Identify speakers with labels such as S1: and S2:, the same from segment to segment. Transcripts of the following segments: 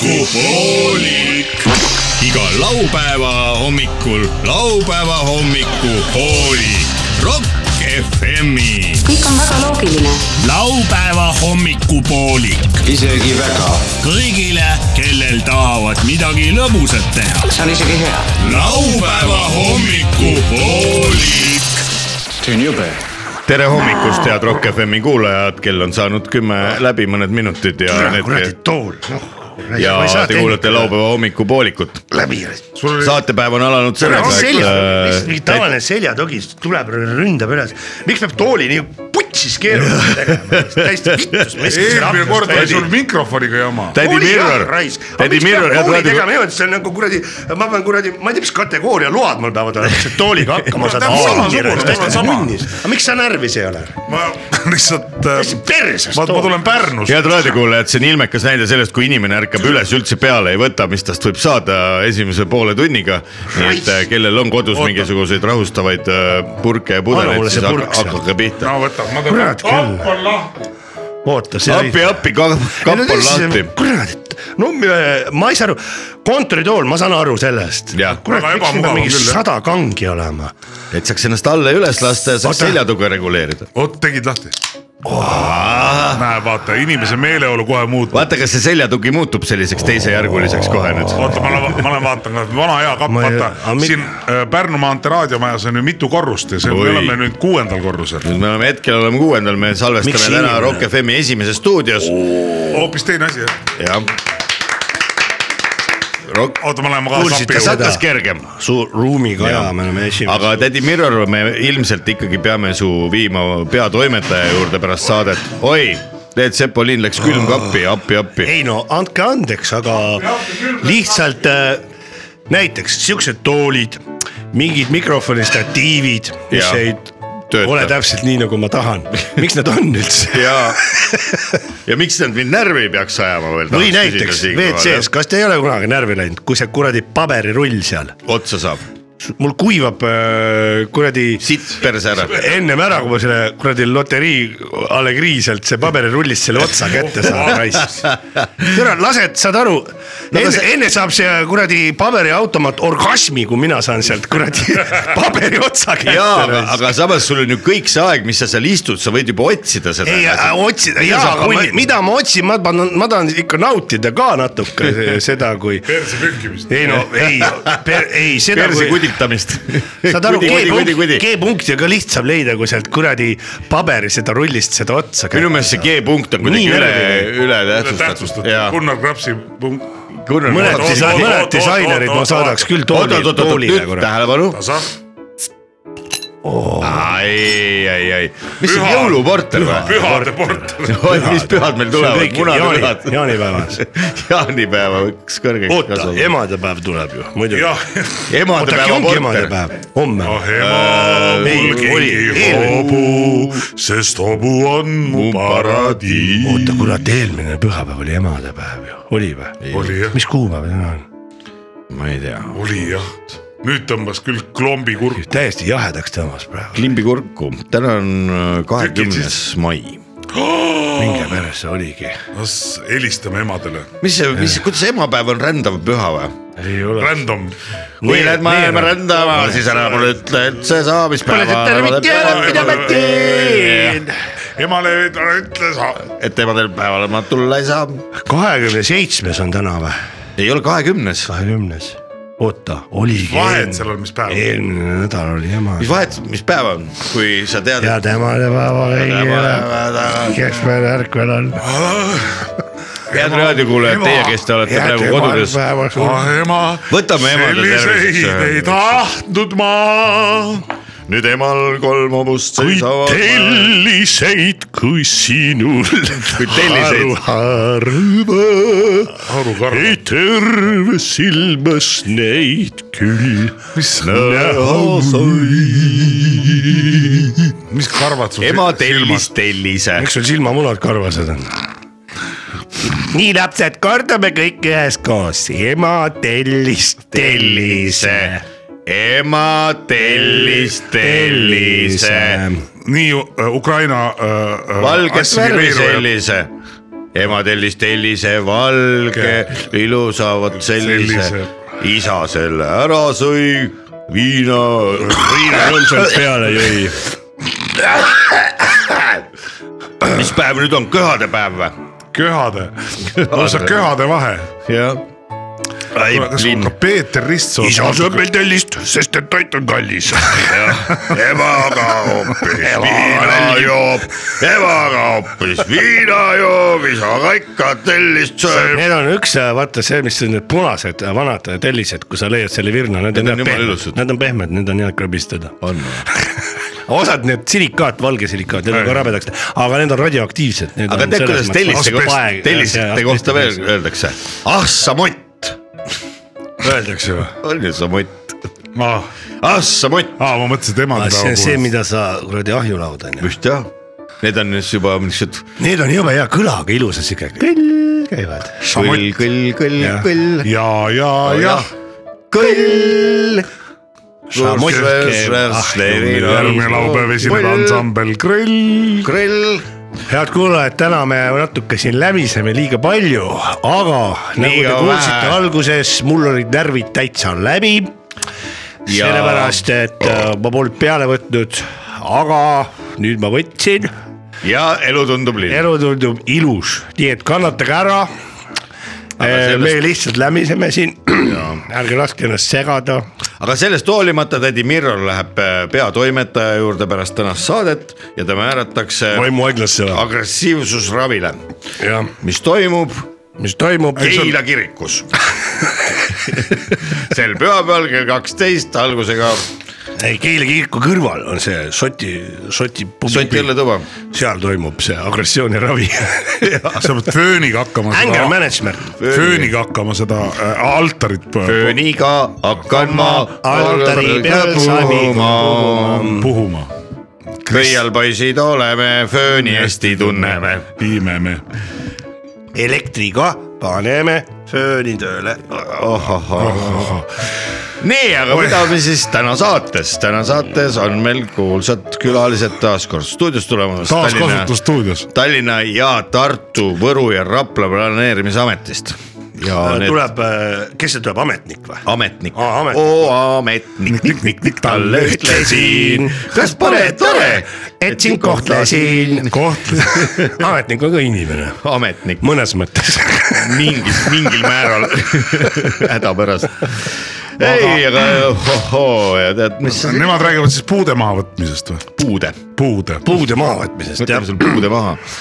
S1: hommikupoolik . iga laupäeva hommikul laupäeva hommikupoolik . Rock FM-i .
S2: kõik on väga loogiline .
S1: laupäeva hommikupoolik
S3: isegi väga .
S1: kõigile , kellel tahavad midagi lõbusat teha .
S3: see on isegi hea .
S1: laupäeva hommikupoolik .
S3: see on jube .
S4: tere hommikust , head Rock FM-i kuulajad , kell on saanud kümme läbi mõned minutid ja need,
S5: Nagu kuradi tool , noh .
S4: ja te kuulate . läbi. laupäeva hommikupoolikut .
S5: läbi . sul oli .
S4: saatepäev on alanud sellega ,
S5: seljas , mingi
S4: et äh,
S5: tavaline seljatõgis tuleb , ründab edasi . miks peab tooli nii putsis keerutama tegema , täiesti vittus .
S6: eelmine kord oli sul mikrofoniga jama .
S4: tädi Mirror , tädi Mirror , head
S5: tegema
S4: raadio ,
S5: niimoodi , see on nagu kuradi , ma pean kuradi , ma ei tea , mis kategooria load mul peavad olema , et tooliga hakkama
S6: Mul on
S5: saada .
S6: täpselt samasugune, mul on sama.
S5: aga miks sa närvis ei ole ?
S6: ma lihtsalt äh,
S5: täiesti , perses
S6: ma , ma
S5: tool .
S6: tulen Pärnust .
S4: head raadiokuulajad , see on ilmekas näide sellest , kui inimene ärkab üles , üldse peale ei võta , mis tast võib saada esimese poole tunniga . nii et äh, kellel on kodus
S6: Oota.
S4: mingisuguseid rahustavaid äh, purke ja pudeleid ,
S5: mulle
S4: siis
S5: see
S4: hak-
S5: purk seal.
S4: hakake pihta .
S6: no võta , ma
S5: Kurat
S6: tõmban
S5: küll. ,
S6: on lahti .
S5: oota , see
S4: appi , appi ,
S5: Ei, no
S4: kapp on
S5: tõesti,
S4: lahti .
S5: kuradi , no me- ma ei saa aru , kontoritool , ma saan aru sellest .
S4: Jah.
S5: kurat ,
S6: Väga
S5: miks siin peab
S6: ebamugav on
S5: mingi
S6: küll, jah.
S5: sada kangi olema ?
S4: et saaks ennast alla ja üles lasta ja saaks
S5: Oota.
S4: seljatuge reguleerida .
S6: oot , tegid lahti . näe , vaata inimese meeleolu kohe muutub .
S4: vaata , kas see seljatugi muutub selliseks teisejärguliseks kohe nüüd .
S6: oota , ma olen , ma olen vaatan , vana hea kapp ,
S5: Ma ei-
S6: vaata
S5: aga mi-
S6: siin äh, Pärnu maantee raadiomajas on ju mitu korrust ja see , me
S4: Oi.
S6: oleme nüüd kuuendal korrusel .
S4: nüüd me oleme hetkel oleme kuuendal , me salvestame
S5: Miks
S4: täna
S5: inimene?
S4: Rock FM-i esimeses stuudios
S6: hoopis teine asi , jah .
S4: ja . Rock ,
S6: oota , ma lähen ma kaasa
S5: Kuulsite
S6: appi
S5: seda?
S6: juurde .
S4: sattus kergem ,
S5: suur ruumiga ja me oleme esimene
S4: aga tädi Mirror , me ilmselt ikkagi peame su viima peatoimetaja juurde pärast saadet . oi , Teet Sepolin läks külmkappi , appi , appi .
S5: ei no andke andeks , aga lihtsalt äh, näiteks siuksed toolid , mingid mikrofoni statiivid , mis
S4: Jah.
S5: ei
S4: Tööta.
S5: ole täpselt nii , nagu ma tahan . miks nad on üldse ?
S4: ja , ja miks nad mind närvi ei peaks ajama veel ?
S5: või näiteks WC-s , kas te ei ole kunagi närvi läinud , kui see kuradi paberirull seal ,
S4: otsa saab ,
S5: mul kuivab äh, kuradi
S4: sitt perse ära
S5: ennem ära , kui ma selle kuradi loterii Allegrii sealt see paberirullist selle otsa kätte saan , raisk . tere , lased , saad aru no, , enne, see... enne saab see kuradi paberiautomaat orgasmi , kui mina saan sealt kuradi paberi otsa
S4: jaa , aga ,
S5: kätte .
S4: aga samas sul on ju kõik see aeg , mis sa seal istud , sa võid juba otsida seda .
S5: ei , otsida , jaa , aga ma, mida ma otsin , ma tahan , ma tahan ikka nautida ka natuke seda , kui
S6: perse pühkimist .
S5: ei no ei , ei seda ,
S4: perse
S5: kui .
S4: kuditamist
S5: saad aru , G-punkti , G-punkti on ka lihtsam leida , kui sealt kuradi paberi seda rullist seda otsa
S4: minu meelest see G-punkt on
S5: Nii
S4: kuidagi üle ,
S5: närviline.
S4: üle tähtsustatud .
S6: tähtsustatud , Gunnar Krapsi punkt .
S5: mõned
S6: Oot,
S5: disain- ,
S6: oot,
S5: mõned
S6: oot,
S5: disainerid
S6: oot,
S5: ma
S6: oot,
S5: saadaks
S6: oot.
S5: küll
S4: oot ,
S5: tooli ,
S4: oot , oot , oot ,
S5: toolile
S4: nüüd
S5: kurat .
S4: tähelepanu .
S6: tasah ,
S4: ai , ai , ai , mis see
S6: Püha-
S4: jõuluporter või ?
S6: pühade portal .
S4: oi , mis pühad meil tulevad , munapühad .
S5: jaanipäevas .
S4: jaanipäeva üks kõrgeks
S5: oota ,
S4: kasvab .
S5: emadepäev tuleb ju , muidugi .
S6: jah ,
S5: oota , äkki
S4: emadepäeva
S5: ongi
S4: porter .
S5: emadepäev , homme .
S6: oh ema , mul keegi hobu , sest hobu on mu paradiis .
S5: oota , kurat , eelmine pühapäev oli emadepäev ju , oli või ?
S6: oli jah ,
S5: mis kuupäev täna on ?
S4: ma ei tea ,
S6: oli jah , nüüd tõmbas küll klombi kurk .
S5: täiesti jahedaks tõmbas praegu ,
S4: klimbikurku , täna on äh, kahekümnes
S6: Tükid
S4: mai
S5: minge peresse oligi .
S6: las helistame emadele ,
S4: mis see , mis , kuidas emapäev on rändav püha või ?
S5: ei ole .
S6: random .
S4: kui
S5: Nii-
S4: lähed maailma
S5: nii-
S4: rändama , siis ära mulle ütle üldse
S5: Pole
S4: saamispäeva
S5: teid . tervit jäänud , mida ma teen .
S6: emale "Ah, ära ütle sa ,
S4: et emadel päeval ma tulla ei saa .
S5: kahekümne seitsmes on täna või ?
S4: ei ole kahekümnes .
S5: kahekümnes . oota , oligi .
S6: vahet seal on , mis päev .
S5: eelmine nädal oli ema .
S4: mis vahet , mis päev on , kui sa tead ,
S5: ja
S4: et
S5: tema päeva kõigile
S4: Emadepäeva. ,
S5: kes meil ärkvel on .
S6: Ah,
S4: head raadiokuulajad , teie , kes te olete praegu kodudes ,
S6: ah ema , äh,
S4: Võtame emade terviseks äh,
S6: selliseid
S4: ühendust.
S6: ei tahtnud ma
S4: nüüd emal kolm hobust seisavad .
S5: telliseid , kui sinul
S4: kui telliseid ,
S5: harva
S6: Aru Karmo ,
S5: ei terve silmas neid küll .
S6: mis , mis karvad sul
S4: ema tellis tellise .
S5: miks sul silmamunad karvased on ? nii lapsed , kordame kõik üheskoos , ema tellis tellise .
S4: ema tellis tellise ,
S6: nii Ukraina äh, äh,
S4: valget värvi
S6: assimileerujad-
S4: sellise . ema tellis tellise valge , ilusa vot sellise
S6: Sellise. .
S4: isa selle ära sõi , viina ,
S6: Riina rõõmsalt peale jõi .
S4: mis päev nüüd on , köhadepäev või ?
S6: köhade , lausa köhade vahe .
S4: jah . ai ,
S6: kas
S4: linn
S6: ka . Peeter Ristsoo .
S5: isa sööb meil tellist , sest et toit on kallis .
S4: ema aga hoopis viina joob , ema aga hoopis viina joob , isa aga ikka tellist sööb .
S5: Need on üks , vaata see , mis on need punased äh, vanad äh, tellised , kui sa leiad selle virna , need
S4: Need
S5: on
S4: on
S5: head
S4: jumala
S5: pehmed
S4: ilusad. , Ah.
S5: need on pehmed , need on head krõbistada .
S4: on ,
S5: osad need silikaat , valge silikaat , need on ka rabedaks , aga need on radioaktiivsed .
S4: aga tead , kuidas telliste kohta , telliste kohta veel öeldakse ? ah sa mott ,
S5: öeldakse või ?
S4: on ju sa mott ,
S6: aa ,
S4: ah sa mott ,
S6: ma mõtlesin , et ema
S5: Ah, see on see , mida sa kuradi ahjulaud onju .
S4: just jah . Need on siis juba niisugused
S5: Need on jube hea kõlaga ilusad siuke kõll käivad .
S4: kõll , kõll , kõll , kõll ,
S6: ja , ja ,
S5: Oh,
S6: jah .
S4: kõll .
S5: Šamott käib
S6: järgmine laupäev esineb ansambel Grill .
S4: grill .
S5: head kuulajad , täna me natuke siin läbiseme liiga palju , aga nagu te
S4: Liiga
S5: kuulsite
S4: vähe.
S5: alguses , mul olid närvid täitsa läbi .
S4: Ja-
S5: sellepärast , et äh, ma polnud peale võtnud , aga nüüd ma võtsin ,
S4: ja elu tundub lill .
S5: elu tundub ilus , nii et kannatage ära .
S4: sellest-
S5: me lihtsalt lämiseme siin , ärge laske ennast segada ,
S4: aga sellest hoolimata tädi Mirror läheb äh, peatoimetaja juurde pärast tänast saadet ja ta määratakse
S5: vaimuhaiglasse või ?
S4: agressiivsusravile ,
S5: jah ,
S4: mis toimub
S5: mis toimub ?
S4: Keila kirikus sel pühapäeval kell kaksteist algusega
S5: ei , Keila kiriku kõrval on see Soti , Soti .
S4: Soti õlletuba .
S5: seal toimub see agressiooniravi .
S6: sa pead fööniga hakkama
S5: Anger
S6: seda ,
S5: management .
S6: fööniga hakkama seda äh, altarit pö-
S4: fööniga hakkan ma
S5: altari peal saami
S4: puhuma.
S6: puhuma .
S4: köial poisid oleme , fööni hästi tunneme .
S6: viime me .
S5: elektriga paneme fööni tööle .
S4: nii , aga mida me siis täna saates , täna saates on meil kuulsad külalised taas kord stuudios tulemas .
S6: taaskasutus stuudios .
S4: Tallinna ja Tartu , Võru ja Rapla planeerimisametist ja need
S5: tuleb ,
S4: äh,
S5: kes see tuleb , ametnik või ?
S4: ametnik
S5: Äh, Aa, ametnik.
S4: oo ametnik ,
S6: nikk-nikk-nikk
S4: talle ütlesin , kas pole tore , et sind kohtlesin .
S6: koht ,
S5: ametnik on ka inimene ,
S4: ametnik
S5: mõnes mõttes .
S4: mingil , mingil määral hädapärast . ei , aga ohoo ja tead , mis see
S6: nemad räägivad siis puude mahavõtmisest või ?
S4: puude ,
S6: puude .
S5: puude mahavõtmisest jah
S4: võtame . selle puude maha uh, .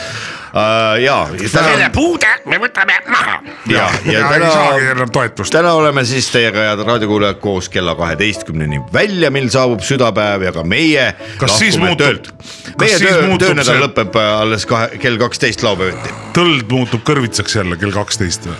S4: ja ,
S5: selle
S4: täna ,
S5: puude me võtame maha .
S4: ja , ja
S6: ja ei saagi
S4: täna
S6: enam toetust .
S4: täna oleme siis teiega , head raadiokuulajad , koos kella kaheteistkümneni välja , mil saabub südapäev ja ka meie .
S6: Kas siis muutub- kas
S4: meie
S6: siis
S4: töö ,
S6: muutub
S4: töönädal
S6: see-
S4: lõpeb äh, alles kahe , kell kaksteist laupäeviti .
S6: tõld muutub kõrvitsaks jälle kell kaksteist või ?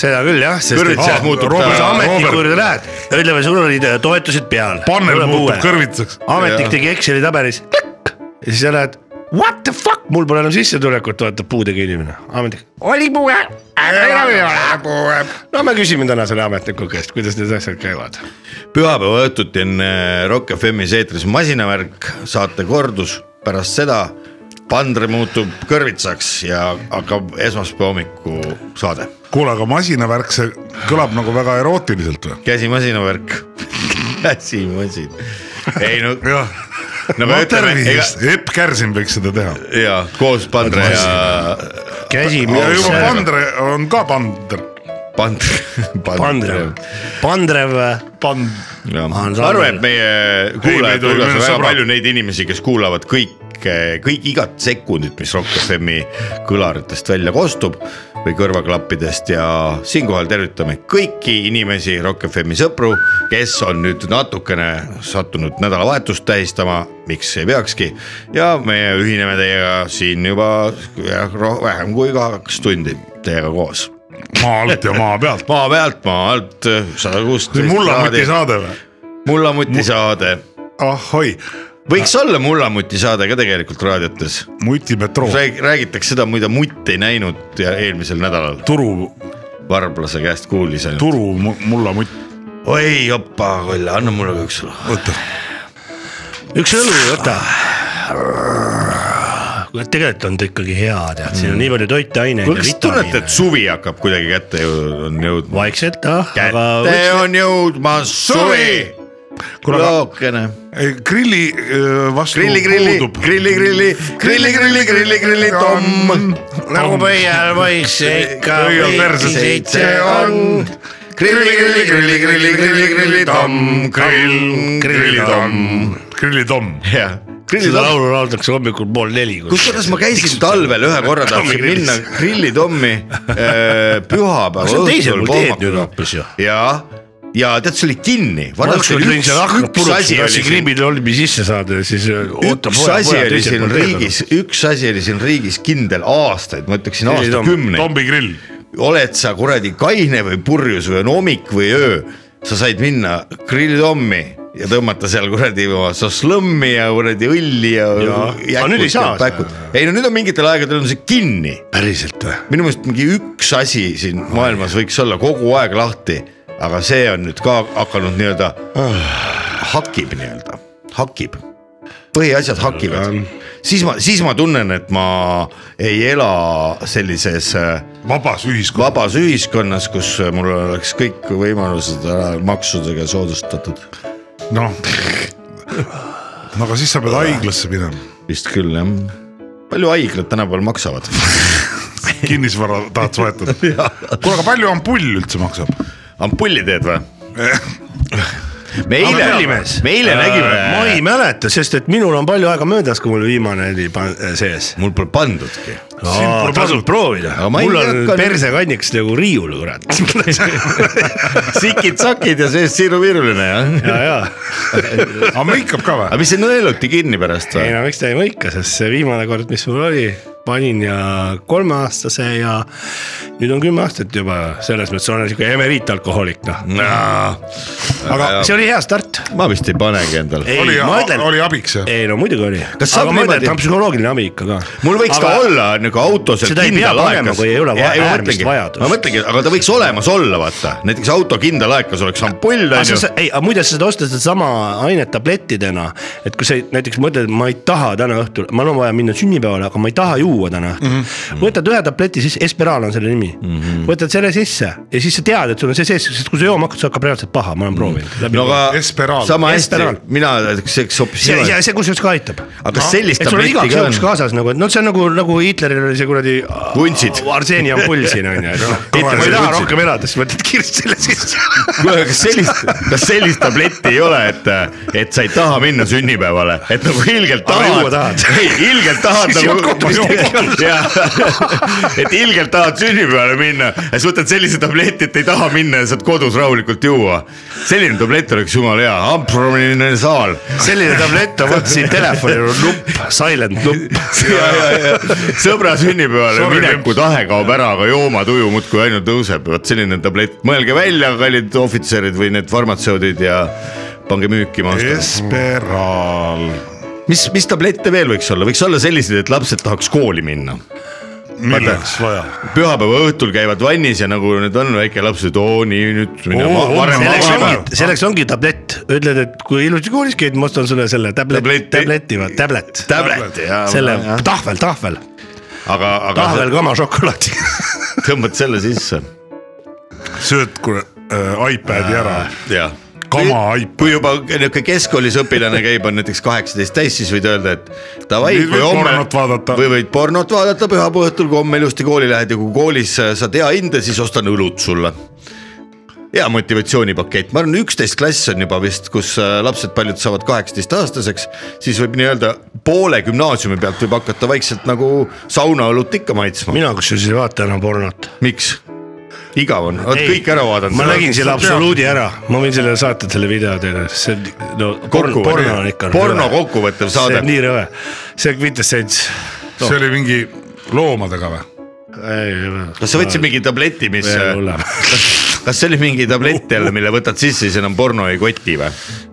S5: seda küll jah , sest
S4: Kõrvits
S5: et
S4: jah, muutub
S5: Robert,
S4: ta-
S5: sa ametniku
S6: Robert.
S5: juurde lähed , ütleme , sul olid äh, toetused peal .
S6: panel muutub . kõrvitsaks . Ah,
S5: ametnik
S4: Jah.
S5: tegi Exceli tabelis klikk ja siis sa lähed what the fuck , mul pole enam sissetulekut , vaatab puudega inimene , ametnik . oli puue , aga enam ei ole . no me küsime täna selle ametniku käest , kuidas need asjad käivad .
S4: pühapäeva õhtuti on äh, Rock FM-is eetris masinavärk , saate kordus , pärast seda pandri muutub kõrvitsaks ja hakkab esmaspäeva hommiku saade .
S6: kuule , aga masinavärk , see kõlab nagu väga erootiliselt või ?
S4: käsimasinavärk , käsimasin , ei no ,
S6: jah ,
S4: no me ütleme , ega
S6: tervist , Epp Kärsin võiks seda teha .
S4: ja koos Äh, pandri ja
S5: käsi
S6: ja juba
S4: see-
S6: Pandre on ka Pandre .
S4: pandri , pandri
S5: Pandrev , Pandrev , äh,
S6: Pan- ,
S4: ja ma
S5: Ansambel.
S4: arvan , et meie kuulajate
S6: tohi,
S4: hulgas on
S6: meil on
S4: väga
S6: sõbrad.
S4: palju neid inimesi , kes kuulavad kõike , kõik igat sekundit , mis Rock FM-i kõlaritest välja kostub või kõrvaklappidest ja siinkohal tervitame kõiki inimesi , Rock FM-i sõpru , kes on nüüd natukene sattunud nädalavahetust tähistama , miks ei peakski . ja me ühineme teiega siin juba jah, ro- vähem kui kaks tundi teiega koos
S6: maa alt ja maa pealt .
S4: maa pealt , maa alt sada kuusteist .
S6: mullamuti saade või ?
S4: mullamuti saade ,
S6: ah oi ,
S4: võiks olla mullamuti saade ka tegelikult raadiotes .
S6: mutimetroo ,
S4: räägitakse seda , mida mutt ei näinud ja eelmisel nädalal
S6: Turu ,
S4: varblase käest kuulis ainult .
S6: Turu mu- mullamutt .
S4: oi jopa , Kolle , anna mulle ka üks õlu .
S6: oota ,
S5: üks õlu , võta . tegelikult on ta ikkagi hea , tead , siin on nii palju toiteaineid ja
S4: kas te tunnete ,
S5: vitamiine
S4: et . suvi hakkab kuidagi kätte jõu- on jõudma ?
S5: vaikselt ah , aga
S4: kätte on jõudmas suvi .
S6: Kuule, aga-
S4: lookene .
S6: grilli öö, vastu .
S4: grilli , grilli , grilli , grilli , grilli , gilli , grilli , grilli , tomm .
S5: nagu pöial poiss ikka
S6: Pöial perses.
S5: seitse on .
S4: grilli , grilli , grilli , grilli , grilli , grilli , tomm , grill ,
S6: grillitomm . grillitomm .
S4: jah ,
S5: seda
S4: grillitomm .
S5: laulu lauldakse hommikul pool neli .
S4: kusjuures ma käisin talvel ühe korra , tahtsin
S5: Tommi
S4: minna grillitommi äh, pühapäeva
S5: see on teisel
S4: õhtul
S5: pool teed nüüd
S4: kohmakule.
S5: hoopis ju .
S4: ja , ja tead , see oli kinni .
S5: ma ükskord lõin seal aknad puruks , tahtsin
S4: üks
S5: kriimitolmi sisse saada ja siis äh, ootab .
S4: asi oli siin riigis , üks asi oli siin riigis kindel aastaid , ma ütleksin aastakümneid ,
S6: tombi grill .
S4: oled sa kuradi kaine või purjus või on hommik või öö , sa said minna grillitommi ja tõmmata seal kuradi oma šašlõmmi ja kuradi õlli ja,
S5: Aga nüüd ei saa seda.
S4: päkud . ei no nüüd on mingitel aegadel on see kinni ,
S5: päriselt ah. või ?
S4: minu meelest mingi üks asi siin maailmas võiks olla kogu aeg lahti , aga see on nüüd ka hakanud nii-öelda hakib nii-öelda , hakib . põhiasjad hakivad , siis ma , siis ma tunnen , et ma ei ela sellises äh,
S6: vabas ühiskonnas .
S4: vabas ühiskonnas , kus mul oleks kõik võimalused ära maksudega soodustatud .
S6: noh , aga siis sa pead haiglasse minema ,
S4: vist küll jah , palju haiglad tänapäeval maksavad ?
S6: kinnisvara tahad soetada . kuule , aga palju ampull üldse maksab ?
S4: ampulli teed või ? me eile , me eile
S5: Äh, ma
S4: nägime
S5: ei , mäleta , sest et minul on palju aega möödas , kui mul viimane oli pan- äh, sees .
S4: mul pole pandudki
S6: pole
S5: tasub proovida
S4: Aga , ma ei
S5: mul on
S4: hakka nüüd-
S5: persekanniks nagu riiul , kurat .
S4: sikid-sakid ja sees siiruviruline jah .
S5: ja , ja ,
S6: aga make-up ka
S4: aga
S6: või ?
S4: mis see nõeluti kinni pärast
S5: ei
S4: või ?
S5: no miks ta ei mõika , sest see viimane kord , mis mul oli , panin ja kolmeaastase ja nüüd on kümme aastat juba , selles mõttes olen siuke emeriitalkohoolik , noh . aga
S4: Aga-
S5: see oli hea start .
S4: ma vist ei panegi endale .
S6: oli
S5: ei , ma , ütlen ,
S6: oli abiks jah ?
S5: ei no muidugi oli ,
S4: Kas saab
S5: aga ma ütlen ,
S4: niimoodi-
S5: et ta on psühholoogiline abi ikka ka .
S4: mul võiks aga... ka olla nagu autos .
S5: Seda ei pea panema, kui ei ole va- äärmist vajadust.
S4: ma mõtlengi , aga ta võiks olemas olla , vaata , näiteks auto kindla aegas oleks ampull
S5: aga
S4: onju
S5: sa , ei , aga muide , sa seda ostad sedasama ainet tablettidena , et kui sa näiteks mõtled , ma ei taha täna õhtul , mul on vaja minna sünnipäevale , aga ma ei taha juua täna õhtul mm .
S4: Mhm.
S5: -hmm. võtad ühe tableti sisse , Esperal on selle nimi mm , -hmm. võtad selle sisse ja siis sa tead , et sul on see sees , sest kui sa jooma hakkad , see hakkab reaalselt paha , ma olen proovinud mm .
S4: Mhm. no aga
S6: Esperanto.
S4: sama hästi
S5: Esperanto. ,
S4: mina ütleks hoopis
S5: see , see,
S4: niimoodi ,
S5: see kusjuures ka aitab .
S4: aga kas sellist
S5: et sul on
S4: tabletti
S5: igaks
S4: ka
S5: juhuks
S4: on ?
S5: kaasas nagu , et noh , see on nagu , nagu Hitleril oli see kuradi .
S4: Vuntsid.
S5: arseeni ampull siin on ju , et noh , ma ei taha rohkem elada , siis võtad kiiresti selle sisse .
S4: kuule , kas sellist , kas sellist tabletti ei ole , et , et sa ei taha minna sünnipäevale , et nagu ilgelt
S5: Aga
S4: tahad
S5: juua tahad. ,
S4: ei ilgelt tahad
S5: Siis jood kodus
S4: nagu , et ilgelt tahad sünnipäevale minna ja siis võtad sellise tableti , et ei taha minna ja saad kodus rahulikult juua . selline tablett oleks jumala hea , amproline saal .
S5: selline tablett on , võtsin telefoni nupp , silent nupp .
S4: sõbra sünnipäevale
S6: Sorry,
S4: mineku tahe kaob ära , aga joomatuju muudkui ainult tõuseb , vot selline tablett , mõelge välja , kallid ohvitserid või need farmatseudid ja pange müüki , ma ostan .
S6: Esperaal .
S4: mis , mis tablette veel võiks olla , võiks olla selliseid , et lapsed tahaks kooli minna .
S6: milleks vaja ?
S4: pühapäeva õhtul käivad vannis ja nagu need on väikelapsed , oo nii nüüd .
S6: Oo, on
S5: selleks
S6: Vaba-
S5: ongi , selleks ongi tablett , ütled , et kui ilusti koolis käid , ma ostan sulle selle tableti
S4: Tableti. ,
S5: tableti , tablet ,
S4: Tablet ja ,
S5: selle tahvel , tahvel ,
S4: aga , aga
S5: tahvel kama šokolaadi .
S4: sa tõmbad selle sisse .
S6: sööd kuule äh, iPadi ära .
S4: jah .
S6: Kama iPad.
S4: kui juba niisugune keskkoolis õpilane käib , on näiteks kaheksateist täis , siis võid öelda , et davai
S6: Nüüd . võid pornot vaadata.
S4: või võid pornot vaadata pühapäeva õhtul , kui homme ilusti kooli lähed ja kui koolis äh, saad hea hinde , siis ostan õlut sulle hea motivatsioonipakett , ma arvan , üksteist klass on juba vist , kus äh, lapsed paljud saavad kaheksateistaastaseks , siis võib nii-öelda poole gümnaasiumi pealt võib hakata vaikselt nagu saunaõlut ikka maitsma .
S5: mina kusjuures ei vaata enam pornot .
S4: miks ? igav on , oled kõik ära vaadanud .
S5: ma nägin selle . absoluudi ära , ma võin selle saata , selle video teile , see on- no porno , porno on ikka .
S4: porno . kokkuvõttev
S5: see on
S4: saade .
S5: nii rõve , see on quintessents .
S6: see oli mingi loomadega või ?
S4: kas sa võtsid mingi tableti , mis , äh,
S5: Veel hullem.
S4: kas kas see oli mingi tablett jälle , mille võtad sisse , siis enam porno ei koti või ?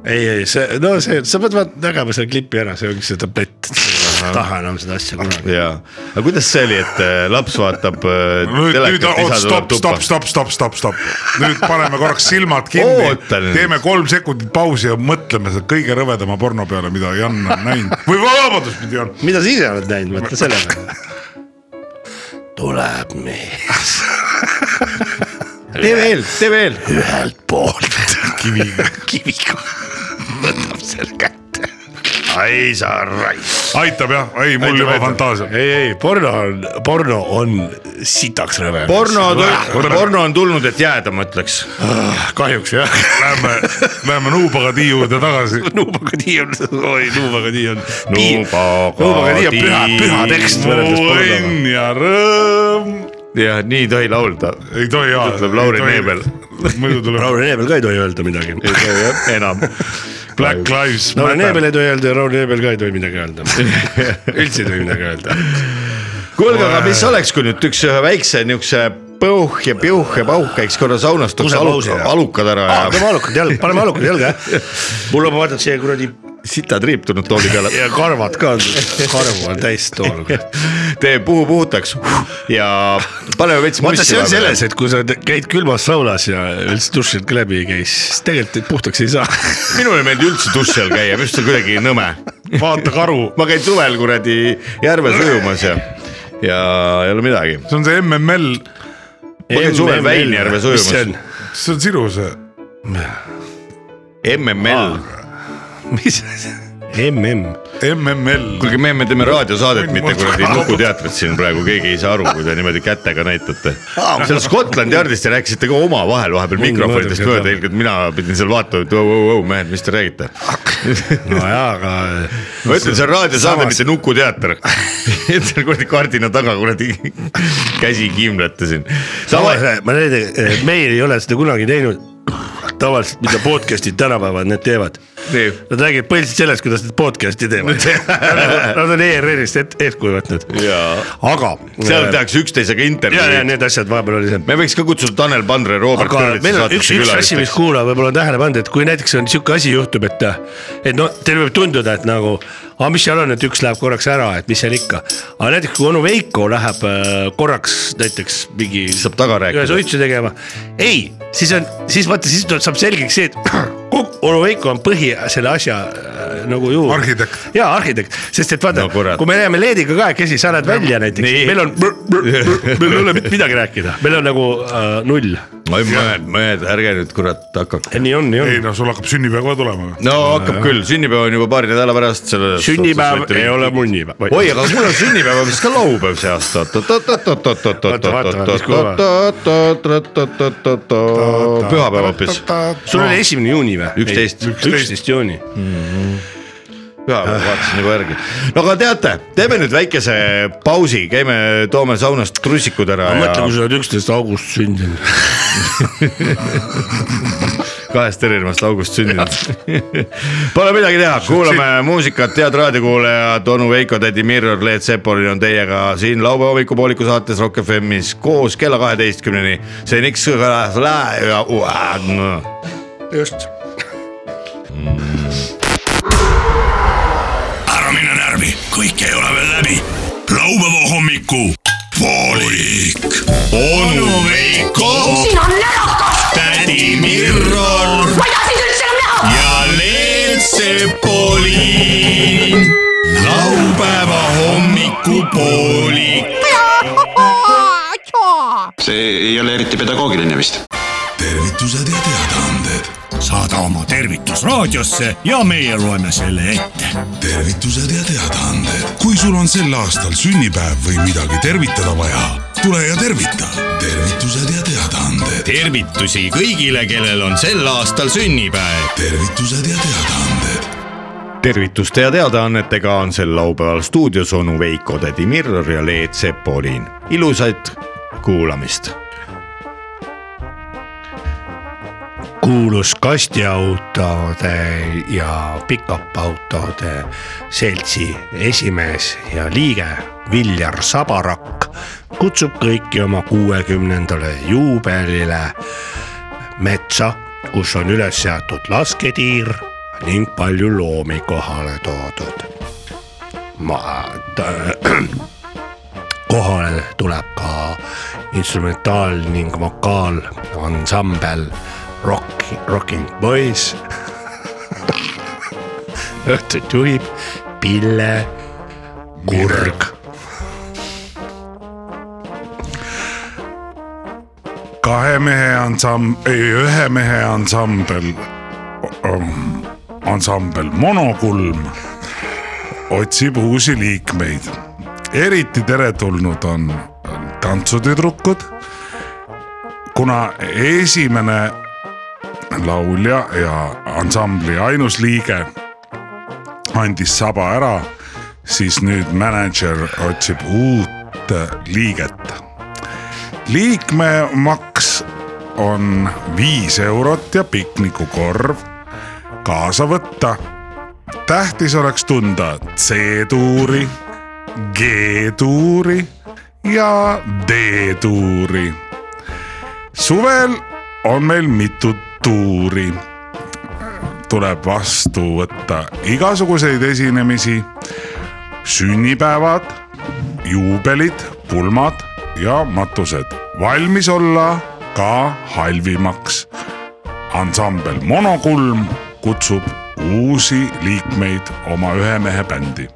S5: ei , ei see , no see , sa pead vaat- nägema selle klipi ära , see ongi see tablett . ei taha enam seda asja kunagi .
S4: jaa , aga kuidas see oli , et äh, laps vaatab äh,
S6: nüüd , nüüd , oh,
S4: telekat ,
S5: oh,
S4: isa tuleb
S6: stopp , stopp ,
S4: tuppa ?
S6: stopp , stopp , stopp , stopp , nüüd paneme korraks silmad kinni
S4: Oota nüüd. ,
S6: teeme kolm sekundit pausi ja mõtleme selle kõige rõvedama porno peale , mida Jan on näinud või vabandust , mitte Jan .
S5: mida sa ise oled näinud , mõtle selle peale . tuleb mees
S4: tee veel , tee veel .
S5: ühelt poolt kiviga , kiviga , võtab selle kätte .
S4: ai sa raisk .
S6: aitab jah , ei mul
S4: Aitab,
S6: juba
S4: aitab.
S6: fantaasia .
S5: ei , ei porno on , porno on sitaks rõve .
S4: porno , porno on tulnud , et jääda , ma ütleks .
S5: kahjuks jah .
S6: Lähme , lähme Nuubaga tii juurde tagasi .
S5: nuubaga nii on , oi nuubaga nii on .
S4: Nuubaga
S5: nuubaga nii on püha ,
S4: nii.
S5: püha tekst võrreldes pornoga .
S6: õnn ja rõõm .
S4: jah , nii ei tohi laulda .
S6: ei tohi jaa .
S4: Ütleb Lauri Neebel. .
S6: muidu tuleb
S5: Raul Reebel ka ei tohi öelda midagi .
S4: ei tohi jah , enam .
S6: Black Lives
S5: Lauri
S6: Matter .
S5: Neebel ei tohi öelda ja Raul Reebel ka ei tohi midagi öelda . üldse ei tohi midagi öelda .
S4: kuulge , aga mis oleks , kui nüüd üks ühe väikse niukse põuh ja piuh ja pauh käiks korra saunas , tuleks
S5: Kusepausi,
S4: aluka-
S5: jah.
S4: alukad ära ja
S5: hakkame alukad jalga , paneme alukad jalga jah . mul on , ma vaatan siia kuradi
S4: sitatriip tulnud tooli peale .
S5: ja karvad ka , karvu on täis tool .
S4: tee puhu puhtaks ja paneme veits
S5: vaata ,
S4: mussi
S5: see on . selles , et kui sa te- käid külmas saunas ja üldse dušid ka läbi ei käi , siis tegelikult puhtaks ei saa .
S4: minule ei meeldi üldse duši all käia , minu arust on kuidagi nõme .
S6: vaata karu ,
S4: ma käin suvel kuradi järves ujumas ja , ja ei ole midagi .
S6: see on see MML ,
S4: ma käin suvel Väinjärves ujumas.
S6: see on sinu see .
S4: MML ,
S5: mis , mm ,
S6: MML ,
S4: kuulge , me , me teeme raadiosaadet , mitte kuradi nukuteatrit siin praegu , keegi ei saa aru , kui te niimoodi kätega näitate . seal Scotland Yardis te rääkisite ka omavahel vahepeal mikrofonidest
S5: mõõdukat
S4: mööda , ilmselt mina pidin seal vaatama , et vau-vau-vau , mehed , mis te räägite .
S5: nojaa , aga
S4: ma ütlen , see on raadiosaade ,
S5: Samas-
S4: mitte nukuteater . et seal kuradi kardina taga kuradi käsi kiimlete siin .
S5: samas , ma näitan , meil ei ole seda kunagi teinud . tavaliselt , mida podcast'id tänapäeval need teevad .
S4: Nii.
S5: Nad räägivad põhiliselt sellest , kuidas nad podcast'i teevad . Nad on ERR-ist et- eeskuju võtnud .
S4: Jaa.
S5: aga .
S4: seal tehakse üksteisega
S5: ja , ja
S4: intervjuud .
S5: need asjad vahepeal oli see
S4: me võiks ka kutsuda Tanel Pandre , Robert
S5: aga
S4: Kõrvits
S5: meil on üks ,
S4: saatesse
S5: üks asi , mis
S4: külalisteks .
S5: kuulaja võib-olla on tähele pannud , et kui näiteks on sihuke asi juhtub , et , et no teil võib tunduda , et nagu , aga mis seal on , et üks läheb korraks ära , et mis seal ikka . aga näiteks kui onu Veiko läheb äh, korraks näiteks mingi .
S4: saab taga rääkida.
S5: ühes uitsu tegema , ei , siis on , siis vaata , siis tuleb , saab selgeks see , et kok- onu Veiko on põhi selle asja äh, nagu juurde .
S6: Arhitekt. .
S5: jaa , arhitekt , sest et vaata
S4: No kurat.
S5: no, , kui me läheme Leediga kahekesi , sa lähed välja näiteks
S4: Nii. ,
S5: meil on , meil ei ole mitte midagi rääkida , meil on nagu äh, null
S4: oi , mõned , mõned , ärge nüüd kurat hakake .
S5: Ja nii on , nii
S6: ei
S5: on .
S6: no sul hakkab sünnipäev ka tulema .
S4: no hakkab küll , sünnipäev on juba paari nädala pärast .
S5: sünnipäev ei ole munnipäev .
S4: oi , aga mul on sünnipäev vist ka laupäev see aasta . pühapäev hoopis .
S5: sul oli esimene juuni või ?
S4: Üksteist.
S5: üksteist juuni .
S4: pühapäev , vaatasin juba järgi . no aga teate , teeme nüüd väikese pausi , käime , toome saunast trussikud ära
S5: mõtle ,
S4: ja
S5: kui sa oled üksteist august sündinud .
S4: kahest erinevast august sündinud . Pole midagi teha , kuulame muusikat , head raadiokuulajad , onu Veiko , tädi Mirror , Leet Sepolin on teiega siin laupäeva hommikupooliku saates Rock FM-is koos kella kaheteistkümneni . seniks .
S5: just .
S1: ära mine närvi , kõik ei ole veel läbi . laupäeva hommiku poolik . onu Veiko ,
S2: siin on närakas ,
S1: tädi Mirror
S2: ma ei taha sind üldse enam näha .
S1: ja Leet Sepolin . laupäeva hommikupoolik .
S3: see ei ole eriti pedagoogiline vist .
S1: tervitused ja teadaanded . saada oma tervitus raadiosse ja meie loeme selle ette .
S7: tervitused ja teadaanded . kui sul on sel aastal sünnipäev või midagi tervitada vaja , tule ja tervita . tervitused ja teadaanded ,
S1: tervitusi kõigile , kellel on sel aastal sünnipäev .
S7: tervitused ja teadaanded ,
S4: tervituste ja teadaannetega on sel laupäeval stuudios onu Veiko , tädi Mirror ja Leet Sepolin . ilusat kuulamist .
S5: kuulus kastiautode ja pikapautode seltsi esimees ja liige Viljar Sabarakk kutsub kõiki oma kuuekümnendale juubelile metsa , kus on üles seatud lasketiir ning palju loomi kohale toodud . ma ta, , kohale tuleb ka instrumentaal ning vokaalansambel Rock , Rocking Boys . õhtut juhib Pille Kurg .
S6: kahe mehe ansambel , ei ühe mehe ansambel , ansambel Monokulm otsib uusi liikmeid . eriti teretulnud on tantsutüdrukud , kuna esimene laulja ja ansambli ainus liige andis saba ära , siis nüüd mänedžer otsib uut liiget liikmemaks on viis eurot ja piknikukorv kaasa võtta . tähtis oleks tunda C-tuuri , G-tuuri ja D-tuuri . suvel on meil mitu tuuri . tuleb vastu võtta igasuguseid esinemisi , sünnipäevad juubelid , pulmad ja matused . valmis olla ka halvimaks . ansambel Monokulm kutsub uusi liikmeid oma ühe mehe bändi .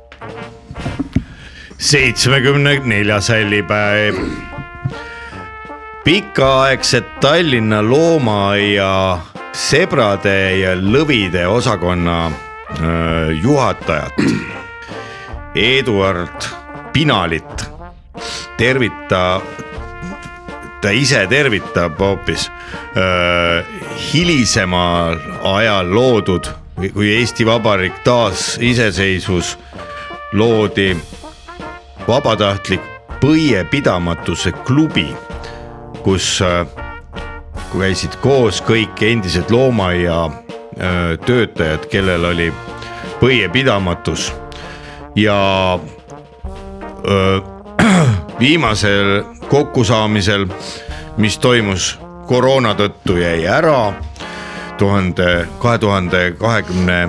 S4: seitsmekümne neljas hällipäev . pikaaegset Tallinna loomaaia sebrade ja lõvide osakonna äh, öö, juhatajat Eduard Pinalit tervita , ta ise tervitab hoopis öö, hilisemal ajal loodud , kui Eesti Vabariik taasiseseisvus loodi vabatahtlik põiepidamatuse klubi , kus äh, käisid koos kõik endised loomaaia äh, töötajad , kellel oli põiepidamatus ja öö, viimasel kokkusaamisel , mis toimus koroona tõttu jäi ära tuhande , kahe tuhande kahekümne ,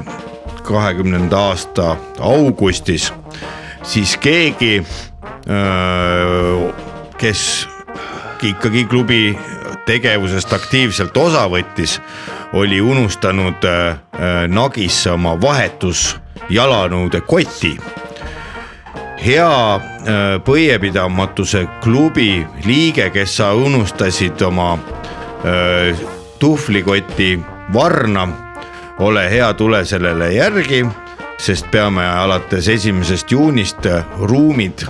S4: kahekümnenda aasta augustis , siis keegi , kes ikkagi klubi tegevusest aktiivselt osa võttis , oli unustanud öö, öö, nagisse oma vahetusjalanõude koti hea öö, põiepidamatuse klubi liige , kes sa unustasid oma öö, tuhvlikoti varna , ole hea , tule sellele järgi , sest peame alates esimesest juunist äh, ruumid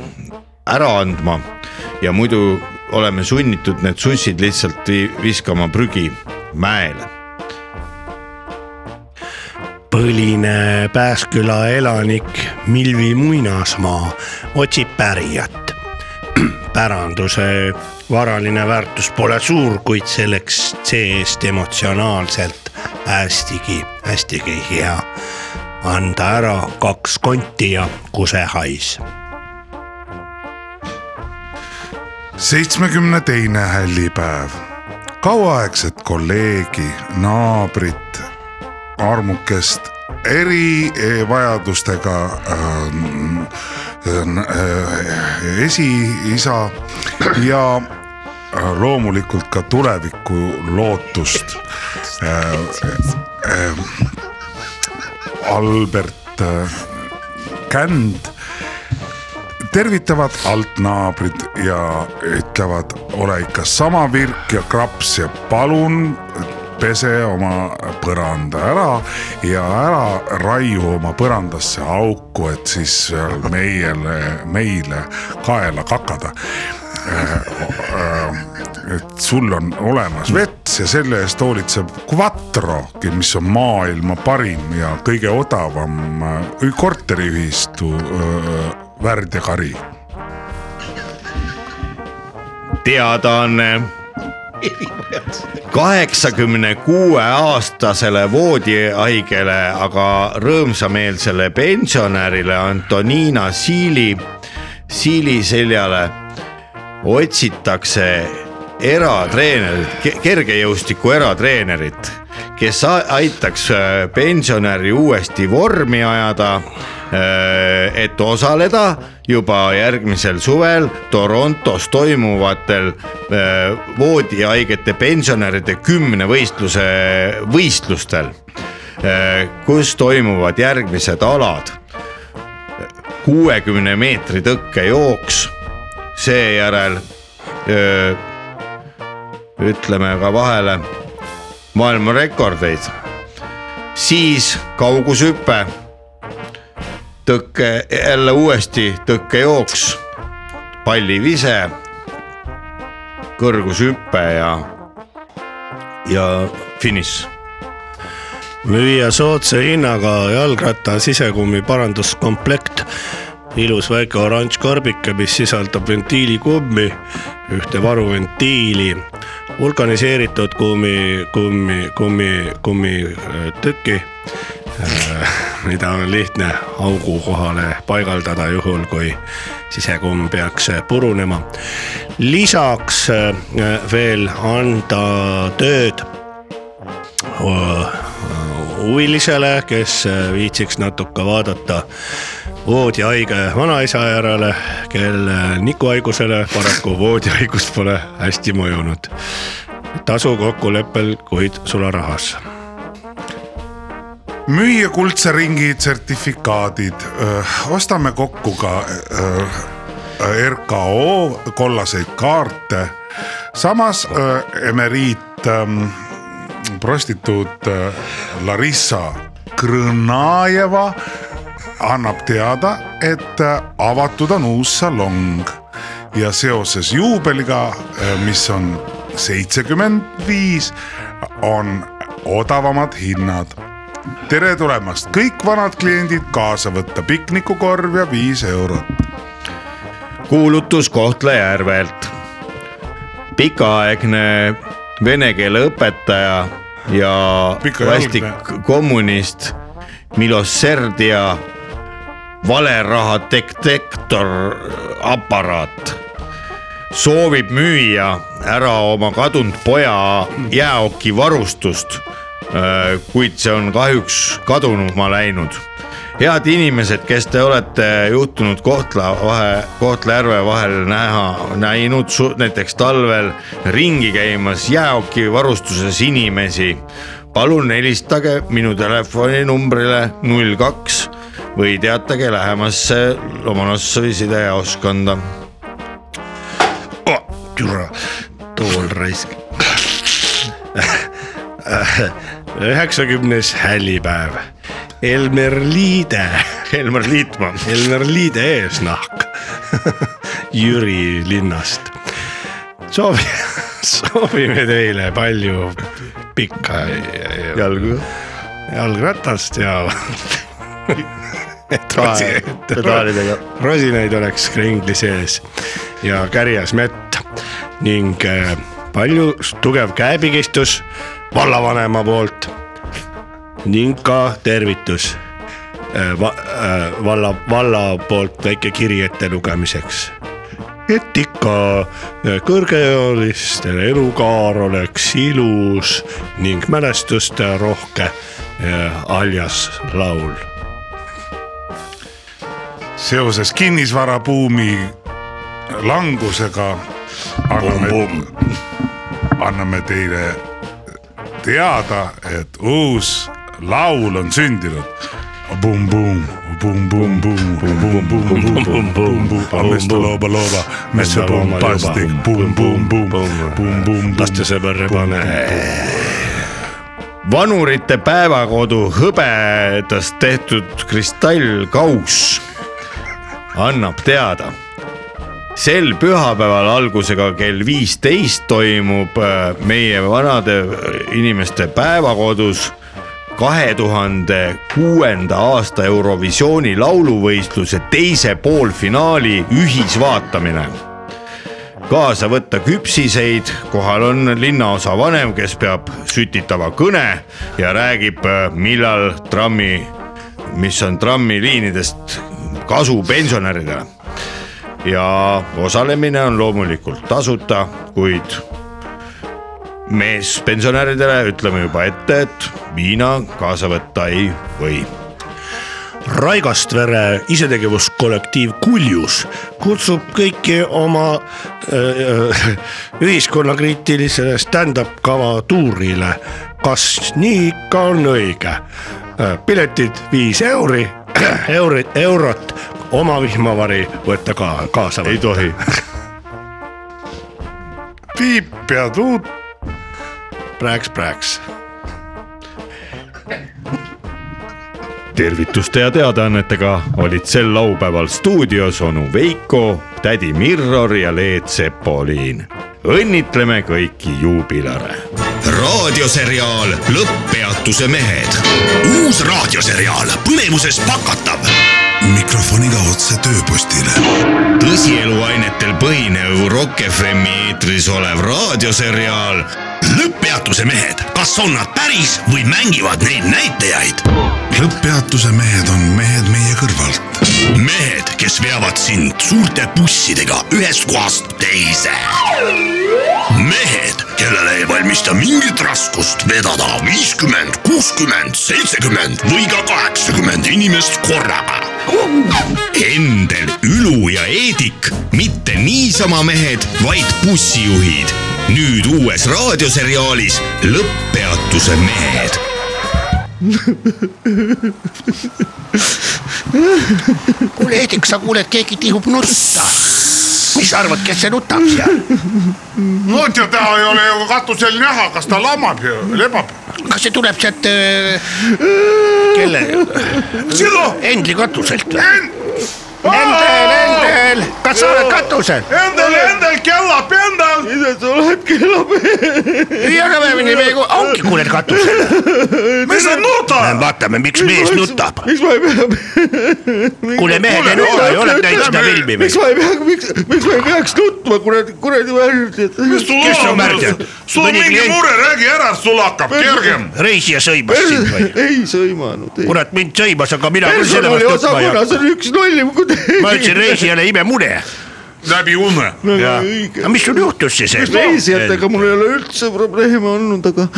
S4: ära andma ja muidu oleme sunnitud need sussid lihtsalt vi- viskama prügi mäele .
S5: põline Pääsküla elanik Milvi Muinasmaa otsib pärijat . päranduse varaline väärtus pole suur , kuid selleks see-eest emotsionaalselt hästigi , hästigi hea anda ära kaks konti ja kusehais .
S6: seitsmekümne teine hällipäev , kauaaegset kolleegi , naabrit , armukest , erivajadustega äh, äh, esiisa ja äh, loomulikult ka tuleviku lootust äh, . Äh, Albert äh, Känd tervitavad altnaabrid ja ütlevad , ole ikka sama virk ja kraps ja palun pese oma põranda ära ja ära raiu oma põrandasse auku , et siis seal meile , meile kaela kakada . et sul on olemas vets ja selle eest hoolitseb Quattro , mis on maailma parim ja kõige odavam äh, korteriühistu äh, värdjakari .
S4: teadaanne . kaheksakümne kuue aastasele voodihaigele , aga rõõmsameelsele pensionärile Antonina Siili , Siili seljale otsitakse eratreenerit , kergejõustiku eratreenerit , kes a- aitaks äh, pensionäri uuesti vormi ajada , et osaleda juba järgmisel suvel Torontos toimuvatel äh, voodihaigete pensionäride kümnevõistluse võistlustel , kus toimuvad järgmised alad kuuekümne meetri tõkkejooks , seejärel öö, ütleme ka vahele maailmarekordeid , siis kaugushüpe , tõkke , jälle uuesti tõkkejooks , pallivise , kõrgushüpe ja , ja finiš
S5: müüa soodsa hinnaga jalgratta sisekummi paranduskomplekt . ilus väike oranž karbike , mis sisaldab ventiilikummi , ühte varuventiili , vulkaniseeritud kummi , kummi , kummi , kummitüki , mida on lihtne augu kohale paigaldada , juhul kui sisekumm peaks äh, purunema . lisaks äh, veel anda tööd äh, huvilisele , kes äh, viitsiks natuke vaadata voodihaige vanaisa järele , kelle nikuhaigusele paraku voodihaigus pole hästi mõjunud . tasu kokkuleppel , kuid sularahas .
S6: müüa kuldse ringi sertifikaadid , ostame kokku ka öö, RKO kollaseid kaarte . samas öö, emeriit , prostituut öö, Larissa Krõnajeva annab teada , et öö, avatud on uus salong ja seoses juubeliga , mis on seitsekümmend viis , on odavamad hinnad tere tulemast , kõik vanad kliendid kaasa võtta , piknikukorv ja viis eurot .
S4: kuulutus Kohtla-Järvelt . pikaaegne vene keele õpetaja ja
S6: Pikaajaline.
S4: vastik kommunist Milos Serdia valeraha detektor aparaat soovib müüa ära oma kadunud poja jääokivarustust , kuid see on kahjuks kadunuma läinud . head inimesed , kes te olete juhtunud Kohtla vahe , Kohtla-Järve vahel näha , näinud su- näiteks talvel ringi käimas jääokivarustuses inimesi , palun helistage minu telefoninumbrile null kaks või teatage lähemasse Lomonossovi sidejaoskonda
S5: türa , tool raisk . üheksakümnes häälipäev . Elmer Liide ,
S4: Helmer Liitmaa .
S5: Elmer Liide eesnahk Jüri linnast . soovi , soovime teile palju pikka ja-
S4: jalgu .
S5: jalgratast ja
S4: Trae- pedaalidega. .
S5: rosinaid oleks kringli sees ja kärjes mett ning äh, palju s- tugev käepigistus vallavanema poolt ning ka tervitus äh, va, äh, valla , valla poolt väike kiri ettelugemiseks et ikka äh, kõrgeealistel elukaar oleks ilus ning mälestuste rohke ja aljas laul .
S6: seoses kinnisvarabuumi langusega anname , anname teile teada , et uus laul on sündinud . Bum-bum , bum-bum , bum-bum , bum-bum , Mr Looba Looba , Mr Bombastic , bum-bum-bum , bum-bum ,
S5: lastesõber pane .
S4: vanurite päevakodu hõbedast tehtud kristallkauss annab teada . sel pühapäeval algusega kell viisteist toimub äh, meie vanade äh, inimeste päevakodus kahe tuhande kuuenda aasta Eurovisiooni lauluvõistluse teise poolfinaali ühisvaatamine kaasa võtta küpsiseid , kohal on linnaosa vanem , kes peab sütitava kõne ja räägib , millal trammi , mis on trammiliinidest kasu pensionäridele .
S8: ja osalemine on loomulikult tasuta , kuid meespensionäridele ütleme juba ette , et viina kaasa võtta ei või .
S5: Raigastvere isetegevuskollektiiv Kuljus kutsub kõiki oma öö, öö, ühiskonnakriitilisele stand-up kava tuurile . kas nii ikka on õige ? piletid viis euri , eurit , eurot , oma vihmavari võtta ka kaasa .
S8: ei tohi .
S5: piip ja tuut . prääks , prääks .
S8: tervituste ja teadaannetega olid sel laupäeval stuudios onu Veiko , tädi Mirror ja Leet Sepoliin . õnnitleme kõiki juubilare
S1: raadioseriaal Lõpppeatuse mehed . uus raadioseriaal põnevuses pakatav ,
S9: mikrofoniga otse tööpostile .
S1: tõsieluainetel põhinev Rock FM-i eetris olev raadioseriaal Lõpppeatuse mehed , kas on nad päris või mängivad neid näitajaid ?
S9: lõpppeatuse mehed on mehed meie kõrvalt .
S1: mehed , kes veavad sind suurte bussidega ühest kohast teise . mehed , kellele ei valmista mingit raskust vedada viiskümmend , kuuskümmend , seitsekümmend või ka kaheksakümmend inimest korraga . Endel , Ülu ja Eedik , mitte niisama mehed , vaid bussijuhid . nüüd uues raadioseriaalis Lõpppeatuse mehed
S5: kuule , Heidik , sa kuuled , keegi tihub nutta . mis sa arvad , kes see nutab seal ?
S6: vot ja ta ei ole ju katusel näha , kas ta lamab ju , lebab .
S5: kas see tuleb sealt äh, kelle ? sinu . Endli katuselt või ? Endel , Endel , kas sa oled katusel ?
S6: Endel , Endel kellab , Endel .
S5: hüüa kõvemini , me ei ku- , ongi kuuled katusel .
S6: mis sa nutad ?
S5: vaatame , miks mees nutab . miks ma ei pea . kuule , mehed ei nuta ju , oled näinud seda filmi või ?
S8: ma ei pea , miks , miks ma ei peaks nutma , kuradi , kuradi värdjad .
S5: Kes on märganud?
S6: sul on
S5: Mõni
S6: mingi
S5: klient-
S6: mure , räägi ära , sul hakkab kergem .
S5: reisija sõimas sind
S4: Eh.
S5: või ?
S8: ei sõimanud .
S5: kurat , mind sõimas , aga mina küll selle vastu nutma ei hakka .
S8: personaliosakonnas on üks lollim kui teie .
S5: ma ütlesin reisijale imemune .
S6: läbi une .
S5: aga mis sul juhtus siis ?
S8: reisijatega mul ei ole üldse probleeme olnud , aga .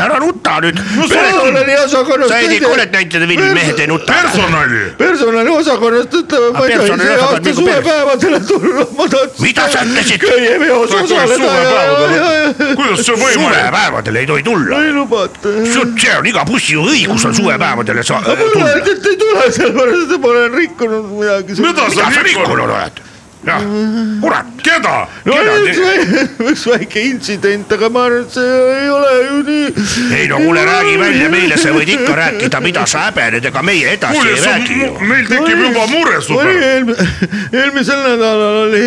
S5: ära nuta nüüd .
S8: personaliosakonnas .
S5: sa ei tea , oled näinud seda filmi Mehed ei nuta ?
S6: personali .
S8: personaliosakonnast ütleme , ma ei
S5: Personali
S8: tohi see
S5: osakond
S8: aasta
S5: nagu
S8: suvepäevadele tulla , ma tahtsin .
S5: mida sa ütlesid ?
S8: käia veos
S6: Sa ei tohi
S8: osaleda ja ,
S6: suvepäevadele
S8: ja , ja ,
S6: kuidas see võimalik ?
S5: suvepäevadel ei tohi tulla .
S8: ei lubata .
S5: see on iga bussijuhi õigus on suvepäevadele sa-
S8: mulle
S5: tulla .
S8: öeldi , et ei tule , sellepärast et ma olen rikkunud midagi .
S6: mida
S5: mida
S6: sa
S5: sa
S6: rikkud ?
S5: rikkunud oled ? jah , kurat ,
S6: keda ?
S5: keda
S8: oli üks
S5: te ,
S8: väike , üks väike intsident , aga ma arvan , et see ei ole ju nii .
S5: ei no kuule , räägi välja meile , sa võid ikka rääkida , mida sa häbened , ega meie edasi
S6: kuule
S5: ei , räägi ju .
S6: meil tekib juba mure su
S8: oli
S6: peale .
S8: eelmi- , eelmisel nädalal oli ,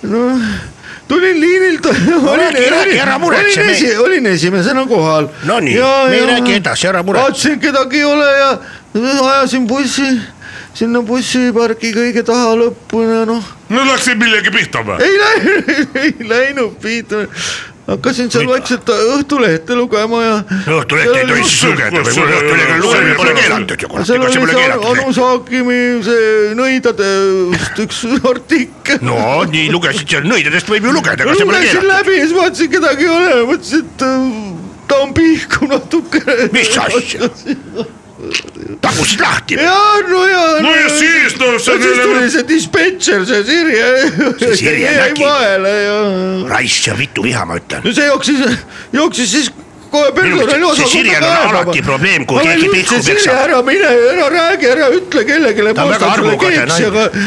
S8: noh , tulin liinilt , olin
S5: räägi, , räägi, ära muretse,
S8: olin,
S5: me-
S8: esi, olin esimesena kohal .
S5: No nii, me ei räägi edasi, ära muretse.
S8: vaatasin , kedagi ei ole ja ajasin bussi sinna bussipargi kõige taha lõppu ja noh ,
S6: no läksid millegi pihta või ?
S8: ei läinud , ei läinud piita . hakkasin seal
S5: Mida?
S8: vaikselt Õhtulehte lugema ja .
S5: õhtulehte ei tohi siis lugeda või kuule Õhtulehte lugemine pole keelatud ju kurat ,
S8: seal
S5: ega
S8: oli
S5: see pole
S8: see Anu-
S5: keelatud .
S8: Anu Saagimi see nõidadest üks artikkel .
S5: no nii lugesid seal , nõidadest võib ju lugeda , ega see pole
S8: lugesin
S5: keelatud .
S8: läbi ja siis vaatasin , kedagi ei ole , mõtlesin , et äh, ta on pihku natukene .
S5: mis asja ? tagusid lahti või ?
S8: ja no ja .
S6: no ja siis , no see
S8: siis tuli
S6: on .
S8: see dispetšer , see Sirje .
S5: See Sirje
S8: jäi
S5: nägi.
S8: vahele ja .
S5: raisk ja vitu viha , ma ütlen .
S8: no see jooksis , jooksis siis kohe personali
S5: meelest see Sirjel on
S8: osakonda
S5: alati probleem, kui keegi pihku
S8: peksab .
S5: peksab.
S8: ära mine , ära räägi , ära ütle kellelegi ,
S5: Ta on väga
S8: postan sulle
S5: armukade
S8: keeksi ,
S5: naine.
S8: aga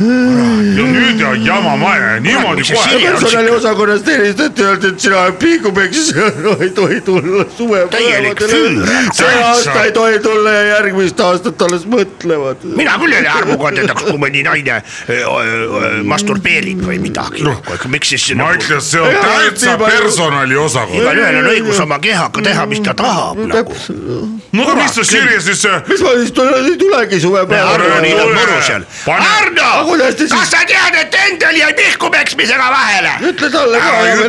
S6: ja nüüd ja jama maja ja niimoodi
S5: Mis see
S6: kohe
S5: Sirje- .
S8: personaliosakonnas helistati , öeldi , et sina oled piigupeksis , no ei tohi tulla
S5: Täielik
S8: suvepäevadele
S5: füür. .
S8: see aasta ei tohi tulla ja järgmist aastat alles mõtlevad .
S5: mina küll ei ole armukandjateks , kui mõni naine öö, öö, masturbeerib või midagi . miks siis
S6: ma
S5: nagu-
S6: ütlen , see on
S8: Jaa,
S6: täitsa
S8: nii palju-
S6: personaliosakond .
S5: igalühel on õigus oma kehaga teha , mis ta tahab nagu .
S6: no aga mis sa Sirje siis ,
S8: mis ma siis tulen , ei tulegi
S5: Arno
S6: Arno,
S5: niidab
S6: tule.
S8: suvepäevadele .
S5: muru seal .
S6: Pane-
S8: Aga
S5: Arno
S8: kuidas te , siis-
S5: kas Ah, sa tead , et Endel jäi pihku peksmisega vahele ?
S8: ütle talle ka
S5: Ära ,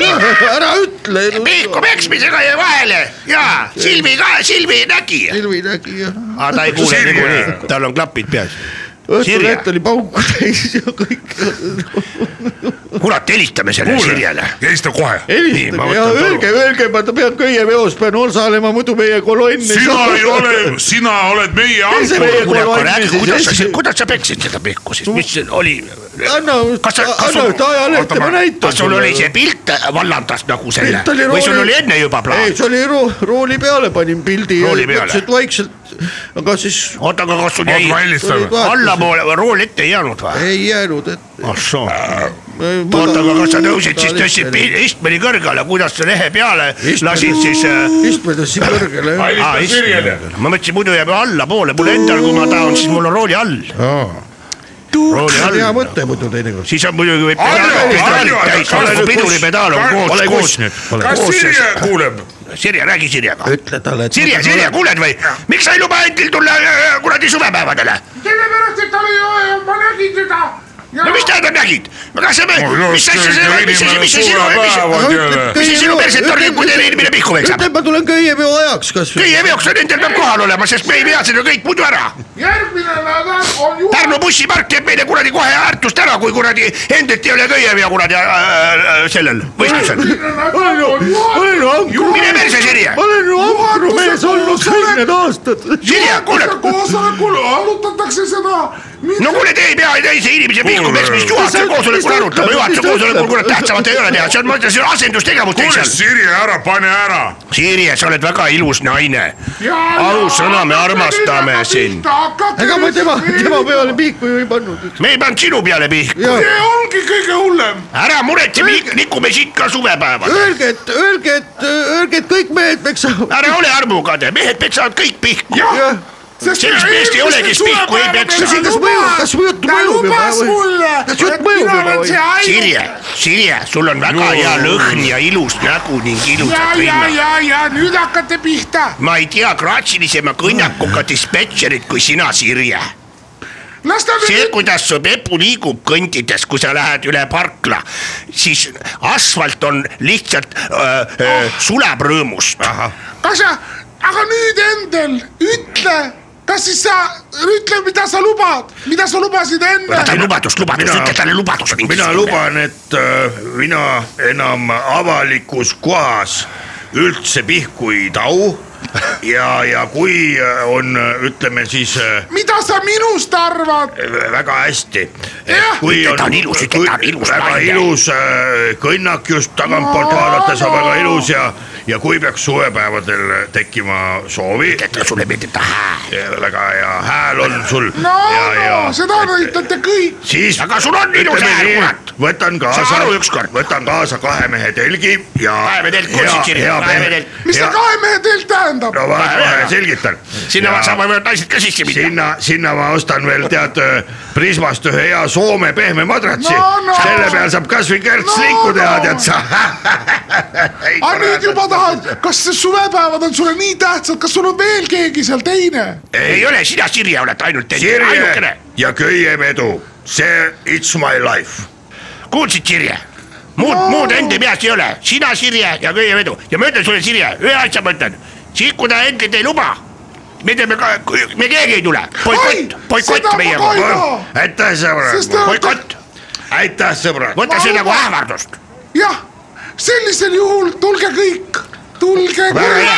S8: ära ütle .
S5: pihku peksmisega jäi vahele ja Silvi ka , Silvi nägi .
S8: silmi nägi ja .
S5: aga ta ei kuule
S6: Sirje.
S5: niikuinii , tal on klapid peas .
S8: õhtulett
S10: Sirje.
S8: oli pauku täis ja kõik .
S10: kurat , helistame sellele Sirjele .
S6: helista kohe .
S10: ma
S8: helistage ja
S10: võtan
S8: öelge , öelge , ma ta- pean köieveos , pean osalema , muidu meie kolonn ei
S6: sina ei
S8: saa .
S6: ole , sina oled meie
S8: see
S6: ankur .
S8: meie kolonn
S10: kuidas sa
S8: siis , ei-
S10: kuidas sa peksid seda Pihku siis , mis see oli ?
S8: anna ,
S10: kas sa , kas
S8: anna
S10: sul ,
S8: ühte ajalehte , ma näitan
S10: kas sul oli see pilt vallandas nagu selle
S8: pilt oli
S10: või sul
S8: rooli-
S10: oli enne juba
S8: ei ,
S10: plaan ?
S8: see oli roo- , rooli peale panin pildi .
S10: Rooli peale.
S8: vaikselt , aga siis
S10: oota , aga kas sul
S6: oota ,
S10: jäi
S6: ma helistan .
S8: Tulid vaatasid.
S10: allapoole või rool ette ei jäänud või ?
S8: ei jäänud , et .
S10: ah soo , oota , aga kas sa tõusid siis tõstsid pi- istmeni kõrgele , kuidas sa lehe peale lasid siis äh, ?
S8: istme tõstsin kõrgele .
S10: Aa,
S6: helista
S10: istmeni
S6: Sirjele .
S10: kõrgele. ma mõtlesin , muidu jääb allapoole , mul endal , kui ma tahan , siis mul on rooli all . rooli
S8: hea
S10: all ,
S8: mõte muidu teinekord .
S10: siis on muidugi võib
S6: Aljo,
S10: pedaalid
S6: Aljo,
S10: täis ,
S6: kas-
S10: ole kui piduripedaal on
S6: kas-
S10: koos
S6: ole ,
S10: koos nüüd .
S6: kas Sirje kuuleb ?
S10: Sirje , räägi Sirjega .
S8: ütle talle , et .
S10: Sirje , Sirje ,. kuuled või ? miks sa ei luba Endil tulla äh, kuradi suvepäevadele ?
S11: sellepärast , et ta oli , ma nägin teda .
S10: no mis tähendab nägid ? kas sa , mis asja see , mis see , mis see sinu , mis see , mis see sinu perset on , kui teine inimene pihku veksab
S8: ütle ,? ma tulen köiepeo ajaks kasvõi .
S10: kõige veoks on Endel peab kohal olema , sest me ei vea seda kõik muidu ära .
S11: järgmine nädal on ju .
S10: Pärnu bussipark teeb meile kuradi kohe väärtust ära , kui kuradi Endelt ei ole köie veo kuradi äh, äh, sellel võistlusel .
S11: järgmine nädal on ju .
S10: mine perse , Sirje .
S8: ma olen ju ankrumees olnud kõik need aastad .
S10: Sirje , kuule ,
S11: koosolekul arutatakse seda .
S10: no kuule , te ei pea teise inimese pihku peksma , mis juhataja koosolekul arutama , juhataja koosolekul kurat tähtsamat ei ole teha , see on , ma ütlen , see on asendustegevus teil
S6: kuule ,
S10: seal .
S6: Sirje , ära pane ära .
S10: Sirje , sa oled väga ilus naine . ausõna , me armastame sind .
S8: ega ma tema , tema . peale pihku ju ei pannud .
S10: me ei pannud sinu peale pihku ,
S8: jaa ,
S11: see ongi kõige hullem .
S10: ära muretse , me nikume siit ka suvepäeval .
S8: öelge , et , öelge , et , öelge , et kõik mehed peksavad .
S10: ära ole armukade , mehed peksavad kõik pihku .
S8: jah ,
S10: sellist meest ei ole , kes pihku ei peksa .
S8: Kas- kas mõjub- kas jutt
S11: ta
S8: mõjub juba
S11: lubas
S8: või-
S11: mulle ,
S8: kas jutt
S11: et
S8: mõjub
S11: mina
S8: juba
S11: olen
S8: või?
S11: see ainus .
S10: Sirje , Sirje , sul on väga hea lõhn ja ilus nägu ning
S11: ja ,
S10: ilusad
S11: ja ,
S10: rinnad .
S11: ja , ja nüüd hakkate pihta .
S10: ma ei tea graatsilisema kõnnakuga dispetšerit kui sina , Sirje
S11: las ta
S10: see
S11: nüüd ,
S10: kuidas su pepu liigub kõndides , kui sa lähed üle parkla , siis asfalt on lihtsalt äh,
S11: Oh.
S10: äh, sulab rõõmust .
S11: kas sa , aga nüüd Endel , ütle , kas siis sa , ütle , mida sa lubad , mida sa lubasid enne .
S10: võta lubadust , lubadust , ütle talle lubadust .
S4: mina . luban , et äh, mina enam avalikus kohas üldse pihku ei tau ja , ja kui äh, on , ütleme siis äh,
S11: mida sa minust arvad ?
S4: väga hästi .
S11: Jah.
S4: eh, kui
S10: Ütle, ta Eh, on ilus, ütle,
S4: kui-
S10: ta on ilus
S4: väga
S10: naine.
S4: ilus äh, kõnnak just tagantpoolt
S11: No,
S4: vaadates on
S11: no.
S4: väga ilus ja , ja kui peaks suvepäevadel tekkima soovi ,
S10: ütle , sulle meeldib ta hääl .
S4: väga hea hääl on sul
S11: no ,
S4: ja , ja
S11: no seda ütlete kõik .
S4: siis .
S10: Aga sul on ilus
S4: ütleme
S10: hääl,
S4: nii,
S10: kurat.
S4: võtan kaasa .
S10: Saa aru ükskord.
S4: võtan kaasa kahe mehe telgi ja .
S10: Kaevetelk, otsid sirge, kaevetelk.
S11: mis see kahe mehe teilt tähendab ?
S4: no vaata ,
S10: Kaevetelk.
S4: kohe selgitan .
S10: sinna ja. saab võivad naised ka sisse minna .
S4: sinna , sinna ma ostan veel tead öö, Prismast ühe hea Soome pehme madratsi
S11: No, no.
S4: selle peal saab kasvõi
S11: No,
S4: kertsliku
S11: no.
S4: teha , tead sa .
S11: aga nüüd juba tahad , kas see suvepäevad on sulle nii tähtsad , kas sul on veel keegi seal teine ?
S10: ei ole , sina , Sirje , oled ainult endine ,
S4: Sirje
S10: ainukene .
S4: ja köiem edu , see it's my life .
S10: kuulsid , Sirje ? muud no. , muud enda peas ei ole , sina , Sirje ja kõige vedu ja ma ütlen sulle , Sirje , ühe asja ma ütlen , siis kui ta endid ei luba , me teeme ka , me keegi ei tule , boikott
S11: Oi, ,
S10: boikott
S11: seda ma
S10: meie
S11: ka ei
S10: poolt ,
S11: taha.
S4: aitäh
S11: Sest ta-
S4: sõbrad ,
S10: boikott ,
S4: aitäh sõbrad .
S10: võta
S11: Ma
S10: see nagu
S11: luban.
S10: ähvardust .
S11: jah , sellisel juhul tulge kõik , tulge kõik .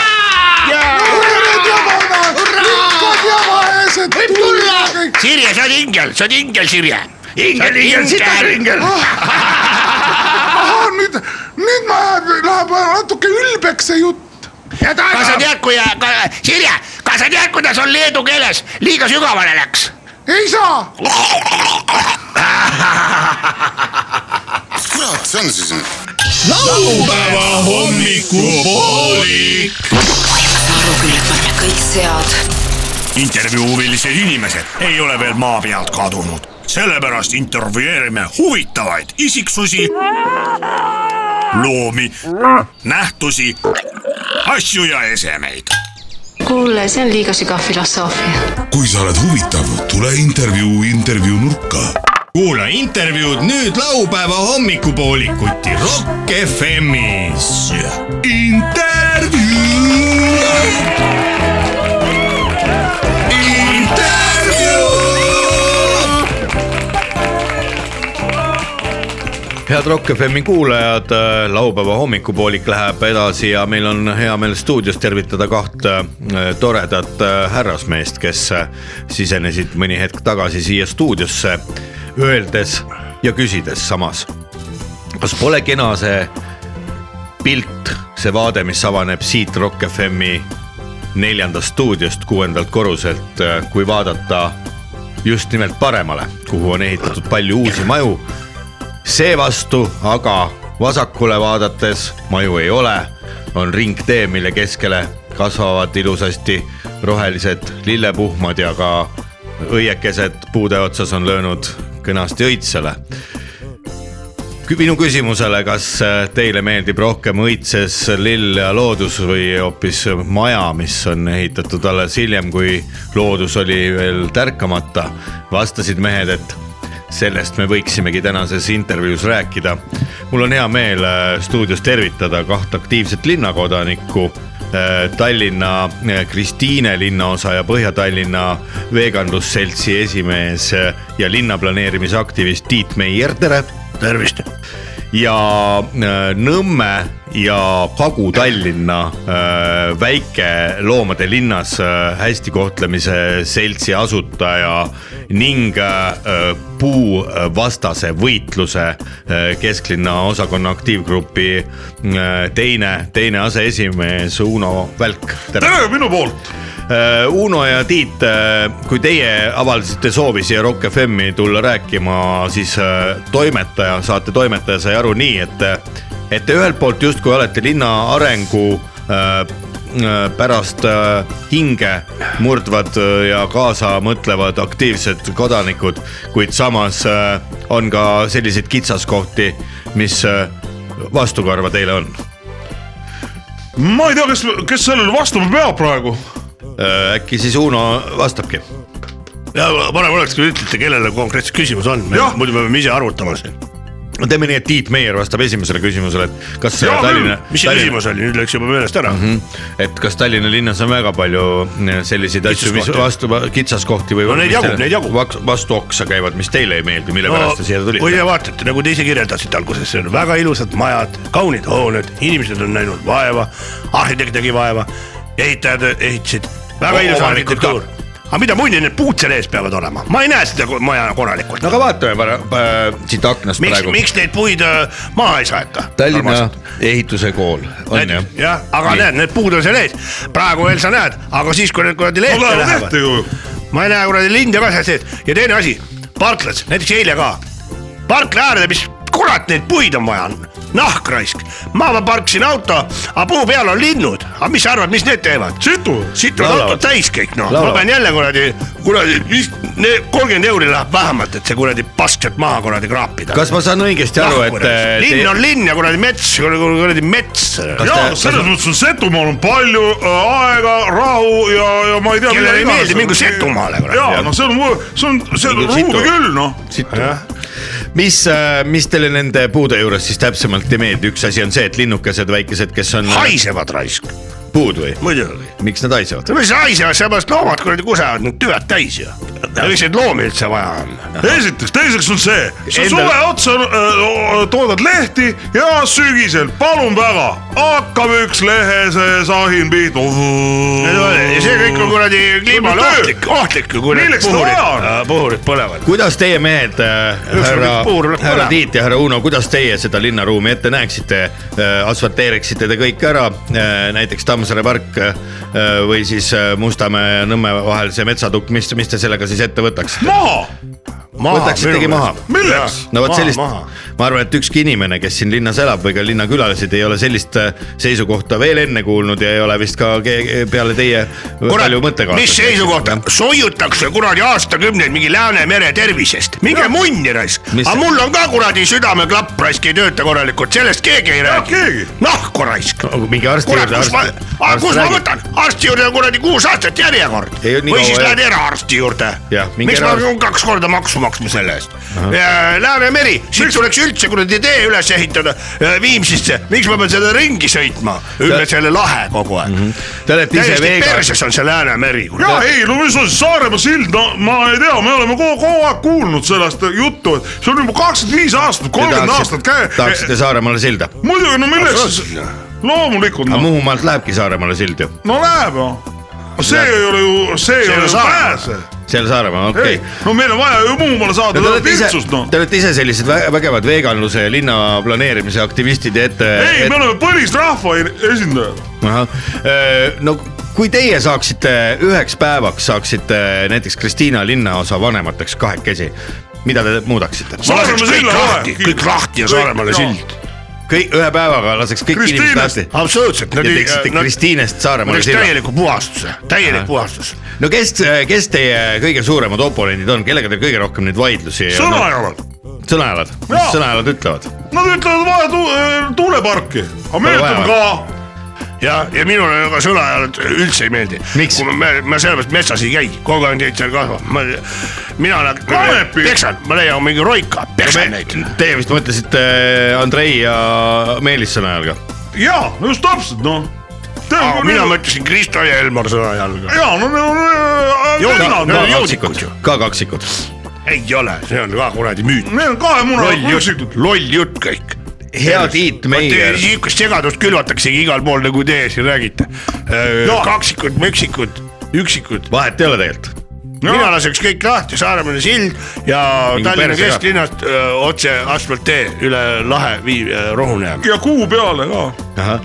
S11: kurjad jabanad , rikkad jabaeesed , tulge kõik .
S10: Sirje , sa oled ingel , sa oled ingel , Sirje .
S4: ingel , ingel , sitas ingel .
S11: ahah , Ah, nüüd , nüüd ma , läheb natuke ülbeks see jutt .
S10: kas sa tead , kui , Sirje , kas sa tead , kuidas on leedu keeles liiga sügavale läks ?
S11: ei saa ,
S12: kurat see on siis nüüd ?
S13: aru küll , et ma olen kõik sead .
S4: intervjuuvilised inimesed ei ole veel maa pealt kadunud , sellepärast intervjueerime huvitavaid isiksusi , loomi , nähtusi , asju ja esemeid .
S2: kuule , see on liiga sügav filosoofia .
S1: kui sa oled huvitav , tule intervjuu intervjuu nurka
S14: kuula intervjuud nüüd laupäeva hommikupoolikuti Rock FM-is .
S1: intervjuu . intervjuu .
S4: head Rock FM-i kuulajad , laupäeva hommikupoolik läheb edasi ja meil on hea meel stuudios tervitada kahte äh, toredat äh, härrasmeest , kes äh, sisenesid mõni hetk tagasi siia stuudiosse , öeldes ja küsides samas . kas pole kena see pilt , see vaade , mis avaneb siit Rock FM-i neljandast stuudiost , kuuendalt korruselt , kui vaadata just nimelt paremale , kuhu on ehitatud palju uusi maju seevastu aga vasakule vaadates maju ei ole , on ringtee , mille keskele kasvavad ilusasti rohelised lillepuhmad ja ka õiekesed puude otsas on löönud kenasti õitsele . minu küsimusele , kas äh, teile meeldib rohkem õitses lill ja loodus või hoopis maja , mis on ehitatud alles hiljem , kui loodus oli veel tärkamata , vastasid mehed , et sellest me võiksimegi tänases intervjuus rääkida . mul on hea meel äh, stuudios tervitada kaht aktiivset linnakodanikku . Tallinna äh, Kristiine linnaosa ja Põhja-Tallinna veganlusseltsi esimees äh, ja linnaplaneerimise aktivist Tiit Meier , tere . tervist . ja äh, Nõmme ja Kagu-Tallinna äh, väikeloomade linnas äh, hästi kohtlemise seltsi asutaja ning äh, puuvastase võitluse äh, kesklinna osakonna aktiivgrupi äh, teine , teine aseesimees Uno Välk .
S10: tere minu poolt .
S4: Äh, Uno ja Tiit , kui teie avaldasite soovi siia Rock FM-i tulla rääkima , siis äh, toimetaja , saate toimetaja sai aru nii , et , et te ühelt poolt justkui olete linna arengu äh, äh, pärast äh, hinge murdvad äh, ja kaasa mõtlevad aktiivsed kodanikud , kuid samas äh, on ka selliseid kitsaskohti , mis äh, vastukarva teile on .
S10: ma ei tea , kes , kes sellele vastama peab praegu .
S4: Äh, äkki siis Uno vastabki ?
S5: ja parem oleks , kui ütlete , kellele konkreetselt küsimus on ,
S10: Jah.
S5: muidu me peame ise arvutama siin .
S4: no teeme nii , et Tiit Meier vastab esimesele küsimusele , et kas
S10: Jaa,
S4: Tallinna ,
S5: mis see küsimus oli , nüüd läks juba meelest ära .
S4: Hmm? et kas Tallinna linnas on väga palju eh, selliseid asju , mis vastu , kitsaskohti või
S5: No neid
S4: mis
S5: jagub,
S4: teile-
S5: neid jagub.
S4: vaks- vastu oksa käivad , mis teile ei meeldi , mille pärast te siia
S5: kui te
S4: tulite ?
S5: vaatate , nagu te ise kirjeldasite alguses , seal on väga ilusad majad , kaunid hooned , inimesed on näinud vaeva , arhitekt tegi vaeva , ehitajad ehitasid , väga
S4: O-
S5: ilus
S4: omanikud ka.
S5: arhitektuur . aga mida muidu need puud seal ees peavad olema , ma ei näe seda ko- maja korralikult
S4: no . aga vaatame para- pa- siit aknast
S5: miks ,
S4: praegu .
S5: miks neid puid öö, maha ei saeta ?
S4: Tallinna ehituse kool on jah ?
S5: jah ,
S4: Nii.
S5: aga nii. näed , need puud on seal ees , praegu veel sa näed , aga siis , kui need kuradi
S10: no
S5: lehte
S10: läheb
S5: lähevad
S10: lehte , ju .
S5: ma ei näe kuradi linde ka seal sees ja teine asi , parklas , näiteks eile ka , parkla äärde , mis kurat neid puid on vaja , nahk raisk , ma parkisin auto , aga puu peal on linnud , aga mis sa arvad , mis need teevad ? situ , situ on
S4: Laulavad.
S5: auto täis kõik noh , ma
S4: Laulavad.
S5: pean jälle kuradi , kuradi , mis , kolmkümmend euri läheb vähemalt , et see kuradi paskjat maha kuradi kraapida .
S4: kas ma saan õigesti aru , et äh,
S5: linn
S4: te-
S5: on linn ja kuradi mets , kuradi mets .
S10: ja selles mõttes on Setumaal on palju äh, aega , rahu ja , ja ma ei tea .
S5: Kellele ei meeldi, mingu Setumaale, kurat.
S10: ja no see on , see on , see on
S4: Mingu
S10: ruumi
S4: situ.
S10: küll noh .
S4: mis , mis teile nende puude juures siis täpsemalt ei meeldi , üks asi on see , et linnukesed väikesed , kes on
S5: haisevad raisk ,
S4: puud või ,
S5: muidugi .
S4: miks nad haisevad ?
S5: no mis haisevad , seepärast loomad kuradi kusevad , need tüved täis ju . miks neid loomi üldse vaja on ?
S10: esiteks , teiseks on see , see
S4: Endal-
S10: Endal... suve otsa äh, toodad lehti ja sügisel , palun väga , hakkab üks lehe see sahin pihta .
S5: ja see kõik on kuradi kliimale
S10: töö.
S5: ohtlik , Mm. ohtlik ju kuradi
S10: Milleks seda vaja on?
S5: äh, puhurid põlevad .
S4: kuidas teie mehed , härra
S5: mingi puur läheb ,
S4: härra
S5: põlema.
S4: Tiit ja härra Uno , kuidas teie seda linnaruumi ette näeksite ? asfalteeriksite te kõik ära , näiteks Tammsaare park äh, või siis äh, Mustamäe ja Nõmme vahel see metsatukk , mis , mis te sellega siis ette võtaksite ?
S10: maha ,
S4: võtaksitegi maha ?
S10: milleks ?
S4: no vot
S5: Maha,
S4: sellist ,
S5: maha.
S4: ma arvan , et ükski inimene , kes siin linnas elab või ka linnakülalised ei ole sellist äh, seisukohta veel enne kuulnud ja ei ole vist ka ke- peale teie
S5: kurat
S4: palju , mõttekaaslasi .
S5: mis seisukohta , soiutakse kuradi aastakümneid mingi Läänemere tervisest , minge munni raisk ,
S4: Mis
S5: aga
S4: see-
S5: mul on ka kuradi südameklapp raisk ei tööta korralikult , sellest keegi ei räägi
S10: keegi. .
S5: nahku raisk .
S4: mingi arsti
S5: kurat ,
S4: juurde ,
S5: kus ma Ah,
S4: arst ,,
S5: kus
S4: arst
S5: ma
S4: räägib .
S5: võtan , arsti juurde on kuradi kuus aastat järjekord
S4: Ei, nii
S5: või
S4: kaua
S5: siis
S4: jah.
S5: lähed eraarsti juurde
S4: Jah, minge
S5: miks ma
S4: eraarsti-
S5: pean kaks korda maksu
S10: maksma selle eest . Läänemeri , siit tuleks üldse kuradi tee üles ehitada äh, Viimsisse , miks ma pean selle ringi sõitma üle selle lahe kogu aeg .
S4: Mhm. Te olete ise
S10: täiesti
S4: veega ,
S10: perses on see Läänemeri .
S6: ja ei , no mis on see Saaremaa sild , no ma ei tea , me oleme kogu, kogu aeg kuulnud sellest juttu , et see on juba kakskümmend viis aastat ,
S4: te
S6: kolmkümmend aastat
S4: tahaksite , tahaksite
S6: käi- .
S4: Saaremaale silda .
S6: muidugi , no milleks siis , loomulikult
S4: aga
S6: no ,
S4: Muhumaalt lähebki Saaremaale sild ju ,
S6: no läheb ju . see ei ole ju , see ei
S10: ei
S6: ole
S10: ole
S6: ju
S10: Saaremaa.
S6: pääse .
S4: seal Saaremaal , okei
S6: ei
S4: okay. ,
S6: no meil on vaja ju Muhumaale saada
S4: Te olete ise
S6: viltsust , noh ,
S4: te olete ise sellised vä- vägevad veganluse ja linna planeerimise aktivistid ja ette .
S6: ei , me oleme põlisrahva esindajad .
S4: ahah , no kui teie saaksite üheks päevaks , saaksite näiteks Kristiina linnaosa vanemateks kahekesi , mida te muudaks ?
S6: Saaremaa
S10: kõik
S6: silla
S10: lahti ,
S6: vahe .
S10: kõik lahti ja Saaremaale sild .
S4: kõik ühe päevaga laseks kõik inimesed
S6: Kristiinast- äh,
S4: lahti
S10: absoluutselt ,
S4: ja teeksite Kristiinest Saaremaale
S10: teeks
S4: silla .
S10: täieliku puhastuse , täielik puhastus .
S4: no kes , kes teie kõige suuremad oponendid on , kellega teil kõige rohkem neid vaidlusi ?
S6: sõnajalad ,
S4: sõnajalad , mis
S6: Jaa.
S4: sõnajalad ütlevad ?
S6: nad ütlevad vaja tu- äh, tuuleparki , aga me
S4: Pole vaja.
S6: ütleme ka
S10: ja , ja minule ka sõnajalad üldse ei meeldi .
S4: Miks?
S10: ma , ma sellepärast metsas ei käi , kogu aeg neid seal kasvab , ma , mina lähen
S6: Kanepi.
S10: peksan , ma leian mingi roika , peksan
S4: Me-
S10: neid .
S4: Teie vist mõtlesite äh, Andrei ja Meelis sõnajalga .
S6: ja no just täpselt noh .
S10: aga mina mõtlesin Kristo ja Elmar sõnajalga .
S6: ja no , äh, no , no ,
S10: Need on
S6: no ,
S10: jõudikud ju ,
S4: ka kaksikud .
S10: ei ole , see on ka kuradi müüt .
S6: need on kahe muna
S10: loll
S6: kunstikud .
S10: jutt , loll jutt kõik .
S4: hea Tiit Meier ,
S10: niisugust segadust külvataksegi igal pool , nagu teie siin räägite . kaksikud , müksikud , üksikud ,
S4: vahet ei ole tegelikult .
S10: mina laseks kõik lahti , Saaremaa sild ja
S4: Mingi
S10: Tallinna
S4: perse ka.
S10: kesklinnast öö, otse asfalttee üle lahe vii- , äh, Rohunejärve .
S6: ja kuu peale ka .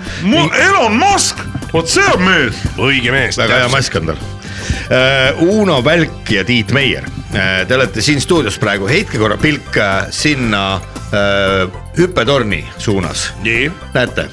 S6: Elon Musk , vot see on mees .
S10: õige mees .
S4: väga hea . mask on tal . Uno Välk ja Tiit Meier , te olete siin stuudios praegu , heitke korra pilk äh, sinna äh, hüppetorni suunas ,
S10: nii ,
S4: näete .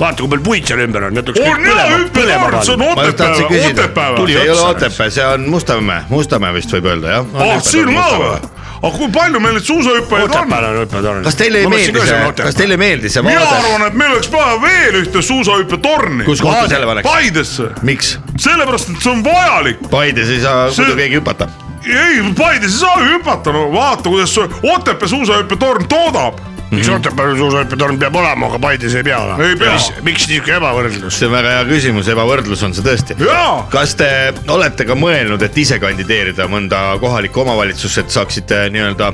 S10: vaata kui palju puid seal ümber on , need
S6: on ja hüppetorn , see on
S4: ma just tahtsin
S6: Otepää ,
S4: küsida ,
S6: Otepää või ?
S4: see ei ole Otepää , see on Mustamäe , Mustamäe vist võib öelda jah Oh,
S6: ah , siin ka või ? aga kui palju meil neid suusahüppajaid on ?
S10: Otepääl on hüppetorn .
S4: kas teile ei meeldi see , kas teile ei meeldi see
S6: mina
S4: vaade ,
S6: arvan , et meil oleks vaja veel ühte suusahüppetorni .
S4: Kus kohta selle paneks?
S6: Paidesse ,
S4: miks
S6: sellepärast et see on vajalik .
S4: Paides ei saa
S6: See-
S4: muidu keegi hüpata ?
S6: ei , Paides ei saa ju hüpata , no vaata , kuidas see Otepää suusahüppetorn toodab
S10: miks Otepääl suusahüppetorn peab olema , aga Paides ei pea olema ?
S6: Ei pea.
S10: miks niisugune ebavõrdlus ?
S4: see on väga hea küsimus , ebavõrdlus on see tõesti .
S6: Jaa.
S4: kas te olete ka mõelnud , et ise kandideerida mõnda kohalikku omavalitsusse , et saaksite nii-öelda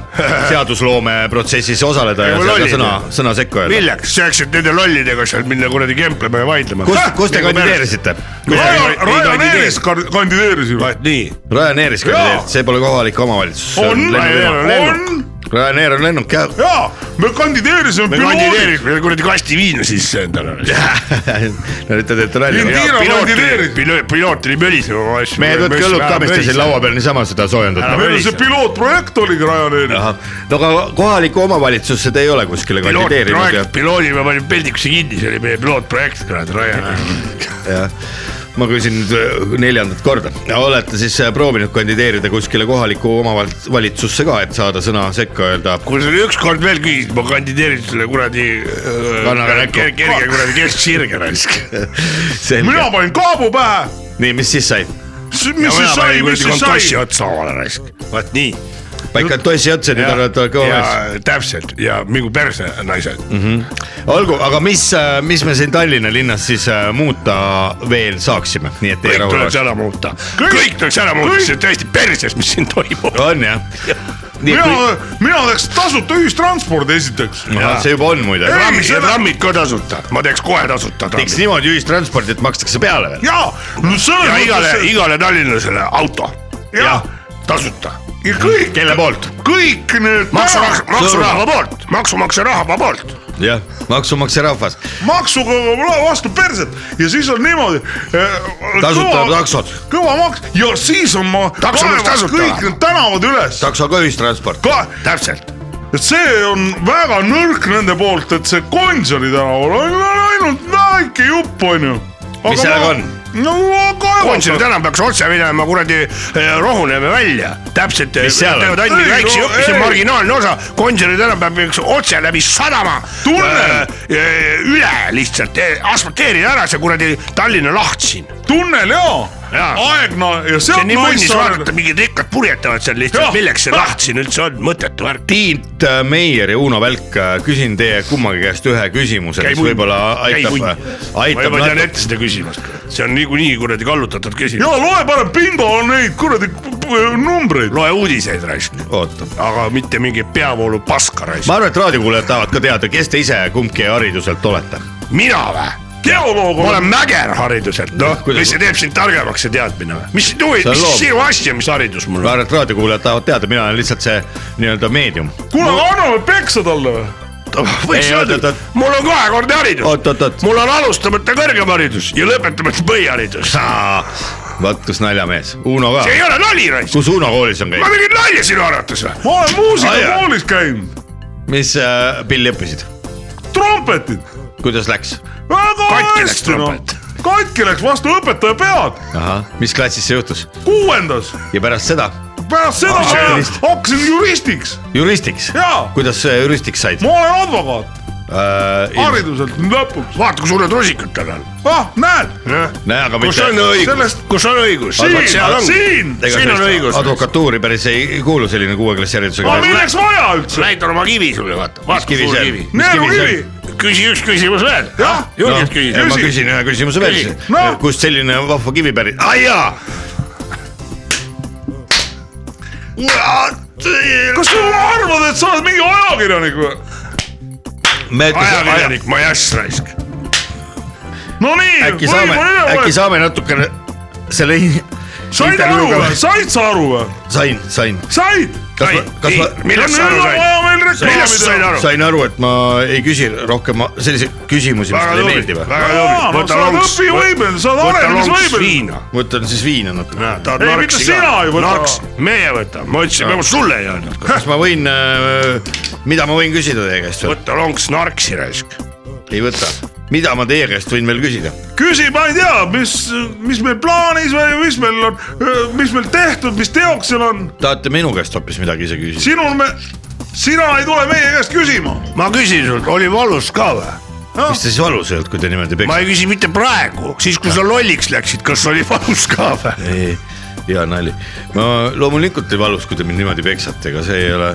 S4: seadusloome protsessis osaleda ja
S10: Ei,
S4: seal ka
S10: lollid
S4: sõna
S10: ju. ,
S4: sõna sekka öelda ?
S10: milleks , saaksid nende lollidega seal minna kuradi kemplema ja vaidlema . Nagu
S4: kus , kus te ? kandideerisite ?
S6: Raja , Ryanairis
S10: kandideeris.
S6: kar- kandideerisime .
S10: nii ,
S4: Ryanairis kandideerisite , see pole kohalik omavalitsus .
S6: on , on ,
S4: Ryanair on lennuk jah .
S6: jaa , me kandideerisime
S10: me
S6: piloodiks .
S10: kandideerisime kuradi kasti viina sisse endale .
S4: no nüüd te teete nalja .
S6: Indira kandideeris.
S10: piloot , piloot oli mölisema oma asju .
S4: mehed , võtke õlut ka , mis te siin laua peal niisama seda soojendate .
S6: meil see pilootprojekt oligi Ryanairis .
S4: no aga kohalikku omavalitsusse te ei ole kuskile kandideerinud ja
S10: pilootprojekt ,, piloodi me panime peldikusse kinni , see oli meie pilootprojekt , kurat , Ryan .
S4: jah . ma küsin nüüd äh, neljandat korda , olete siis äh, proovinud kandideerida kuskile kohalikku omavalitsusse ka , et saada sõna sekka öelda ?
S10: kui sa ükskord veel küsid , ma kandideerin sulle kuradi äh,
S4: Kannaga
S10: ker-
S4: näkku.
S10: ker- kerge kuradi kesksirge raisk .
S4: selge
S6: mina , panin kaabu pähe ,
S4: nii , mis siis sai ?
S6: mis siis sai , mis siis sai ?
S10: otsa omale raisk , vaat nii .
S4: paika tossi otsa , nüüd olete kõva Mhm. mees .
S10: täpselt ja mingu perse naised mm . -hmm.
S4: olgu , aga mis , mis me siin Tallinna linnas siis äh, muuta veel saaksime , nii et teie
S10: kõik
S4: rahul
S10: tuleks
S4: oleks ?
S10: ära muuta , kõik tuleks ära muuta ,
S6: kõik-
S10: see on täiesti perses , mis siin toimub .
S4: on jah ? nii ,
S6: mina , mina teeks tasuta ühistranspordi esiteks .
S4: see juba on muide .
S10: trammid ,
S6: seda-
S10: trammid ka tasuta , ma teeks kohe tasuta
S4: teeks
S10: trammid .
S4: niimoodi ühistransporti , et makstakse peale veel .
S6: jaa , no selles
S10: ja igale ,
S6: mõttes ,
S10: igale tallinlasele auto ,
S6: jah ,
S10: tasuta .
S6: ja kõik ,
S10: kelle poolt ?
S6: kõik need
S10: maksumaksja ,
S6: tänavad
S10: maksurahva poolt , maksumaksja rahva poolt .
S4: jah , maksumaksja rahvas ,
S6: maksuga vastu perset ja siis on niimoodi .
S4: Tasuta taksod. .
S6: kõva maks ja siis on ma
S10: Takso peaks
S6: kaevaks
S10: tasuta.
S6: kõik need tänavad üles .
S4: takso ka ühistransport .
S10: täpselt ,
S6: et see on väga nõrk nende poolt , et see Gonsiori tänaval on ainult väike jupp , onju .
S4: Mis sellega on? ?
S6: no
S10: Gonsiori
S6: kaevata .
S10: tänav peaks otse minema kuradi eh, Rohuneeme välja , täpselt .
S4: seal on?
S10: teevad
S6: Ei,
S10: ainult väikse
S6: no
S10: jupi , see on
S6: ei.
S10: marginaalne osa , Gonsiori tänav peab otse läbi sadama .
S5: äh,
S6: Tunnel.
S10: üle lihtsalt , asfalteerida ära see kuradi Tallinna laht siin .
S6: tunnel jaa ,
S7: aegna ja
S10: see on
S7: sealt
S10: nii mõnis vaadata ,
S7: Naissaarele .
S10: mingid rikkad purjetavad seal
S7: Jah.
S10: lihtsalt , milleks see laht siin üldse on , mõttetu värk .
S4: Tiit äh, Meier ja Uno Välk , küsin teie kummagi käest ühe küsimuse ,
S10: Käi
S4: mis
S10: munn.
S4: võib-olla
S10: Käi
S4: aitab
S10: munn. , ma
S4: aitab
S10: juba tean
S4: natuke .
S10: ette seda küsimust , see on niikuinii kuradi kallutatud
S7: ja
S10: küsimus .
S7: loe parem , bingo on neid kuradi
S6: eh,
S7: p- numbreid .
S10: loe uudiseid raisk ,
S4: oota ,
S10: aga mitte mingi peavoolu paska raisk
S4: ma . arvan , et raadiokuulajad tahavad ka teada , kes te ise kumbki hariduselt olete .
S10: mina vä ?
S7: geoloog
S10: ma
S7: olen
S10: olen mäger hariduselt , noh ,
S4: Kuidas-
S10: mis see teeb sind targemaks , see teadmine või ? mis sind huvi
S4: See , on
S10: mis
S4: loom-
S10: sinu asi on , mis haridus mul
S4: ma
S10: on ?
S4: arvan , et raadiokuulajad tahavad teada , mina olen lihtsalt see nii-öelda meedium .
S7: kuule , anname peksa talle või ?
S10: võiks
S4: Ei, oot,
S10: öelda
S4: oot, , oot.
S10: mul on kahekordne
S4: Oot, oot, oot.
S10: haridus . mul on alustamata kõrgharidus ja lõpetamata põhiharidus .
S4: vot kus naljamees , Uno ka
S10: see . ei ole nali raisk ,
S4: kus Uno koolis on
S10: ma
S4: käinud ,
S10: tegin nalja sinu arvates või ?
S7: ma olen muusikakoolis
S4: muusikakoolis
S7: käinud ,
S4: mis äh, pilli õppisid ,
S7: trompetid .
S4: kuidas läks ?
S7: väga
S10: Katki läks
S7: hästi noh
S10: trompet. ,
S7: katki läks vastu õpetaja pead ,
S4: ahah , mis klassis see juhtus
S7: kuuendas .
S4: ja pärast seda
S7: pärast seda ma
S4: Ah, see-
S7: hakkasin juristiks ,
S4: juristiks
S7: Jaa. ?
S4: kuidas sa juristiks said ?
S7: ma olen advokaat ,
S4: Äh,
S7: hariduselt nüüd lõpuks .
S10: vaata , kui suured rusikad tal on .
S7: ah , näed ,
S4: näe , aga
S10: kus on
S4: mitte .
S10: õigus
S7: Sellest- ,
S10: kus on õigus ?
S7: siin , siin ,
S10: siin on õigus .
S4: advokatuuri päris ei kuulu selline kuue klassi
S7: aga
S4: haridusega .
S7: milleks vaja üldse ,
S10: näitan oma kivi sulle , vaata , vaata kui
S4: kivi
S10: suur
S4: see on?
S10: kivi .
S4: mis kivi see on?
S7: neerukivi ,
S10: küsi üks küsimus veel . Ah,
S7: Jah. Noh,
S10: julged küsida
S4: ma . küsin ühe küsimuse veel
S10: Küsi.
S4: siis
S7: No.
S4: no. , kust selline vahva kivi Ah, pärit , ai jaa ,
S7: kas sa arvad , et sa oled mingi ajakirjanik või ?
S4: me ütlesime ,
S10: ajakirjanik , ma ei asja raisk .
S7: Nonii ,
S4: äkki saame , äkki saame natukene selle in-
S7: said aru
S4: intervjuuga-
S7: või , said sa aru või ,
S4: sain , sain ,
S7: said ?
S4: kas
S10: Ei,
S4: ma , kas
S10: ei,
S4: ma ,
S10: millest sa aru said ?
S7: vaja meil
S10: millest sa
S7: reklaami
S10: said
S7: teha .
S10: aru ?
S4: sain aru , et ma ei küsi rohkem selliseid küsimusi , mis
S10: väga
S4: teile ei
S10: tubli ,
S4: meeldi või ?
S10: väga
S7: jaa ,
S10: tubli ,
S7: no
S10: võta
S7: sa oled
S10: lonks .
S7: õpivõimeline , sa oled
S10: võta lonks
S7: arenemisvõimeline .
S10: viina .
S4: võtan siis viina natuke .
S10: ta on
S7: Ei,
S10: narks
S7: mitte sina ei võta.
S10: narks , meie võtame , ma ütlesin , ma sulle ei öelnud .
S4: kas ma võin , mida ma võin küsida teie käest või ?
S10: võta lonks narksi raisk .
S4: ei võta . mida ma teie käest võin veel küsida ?
S7: küsi , ma ei tea , mis , mis meil plaanis või mis meil on , mis meil tehtud , mis teoksel on ,
S4: tahate minu käest hoopis midagi ise küsida ?
S7: sinul me , sina ei tule meie käest küsima .
S10: ma küsin sult , oli valus ka või ?
S4: mis te siis valus ei olnud , kui te niimoodi
S10: ma
S4: peksite ?
S10: ei küsi mitte praegu , siis kui sa lolliks läksid , kas oli valus ka või ?
S4: ei , hea nali . ma loomulikult ei valus , kui te mind niimoodi peksate , ega see ei ole .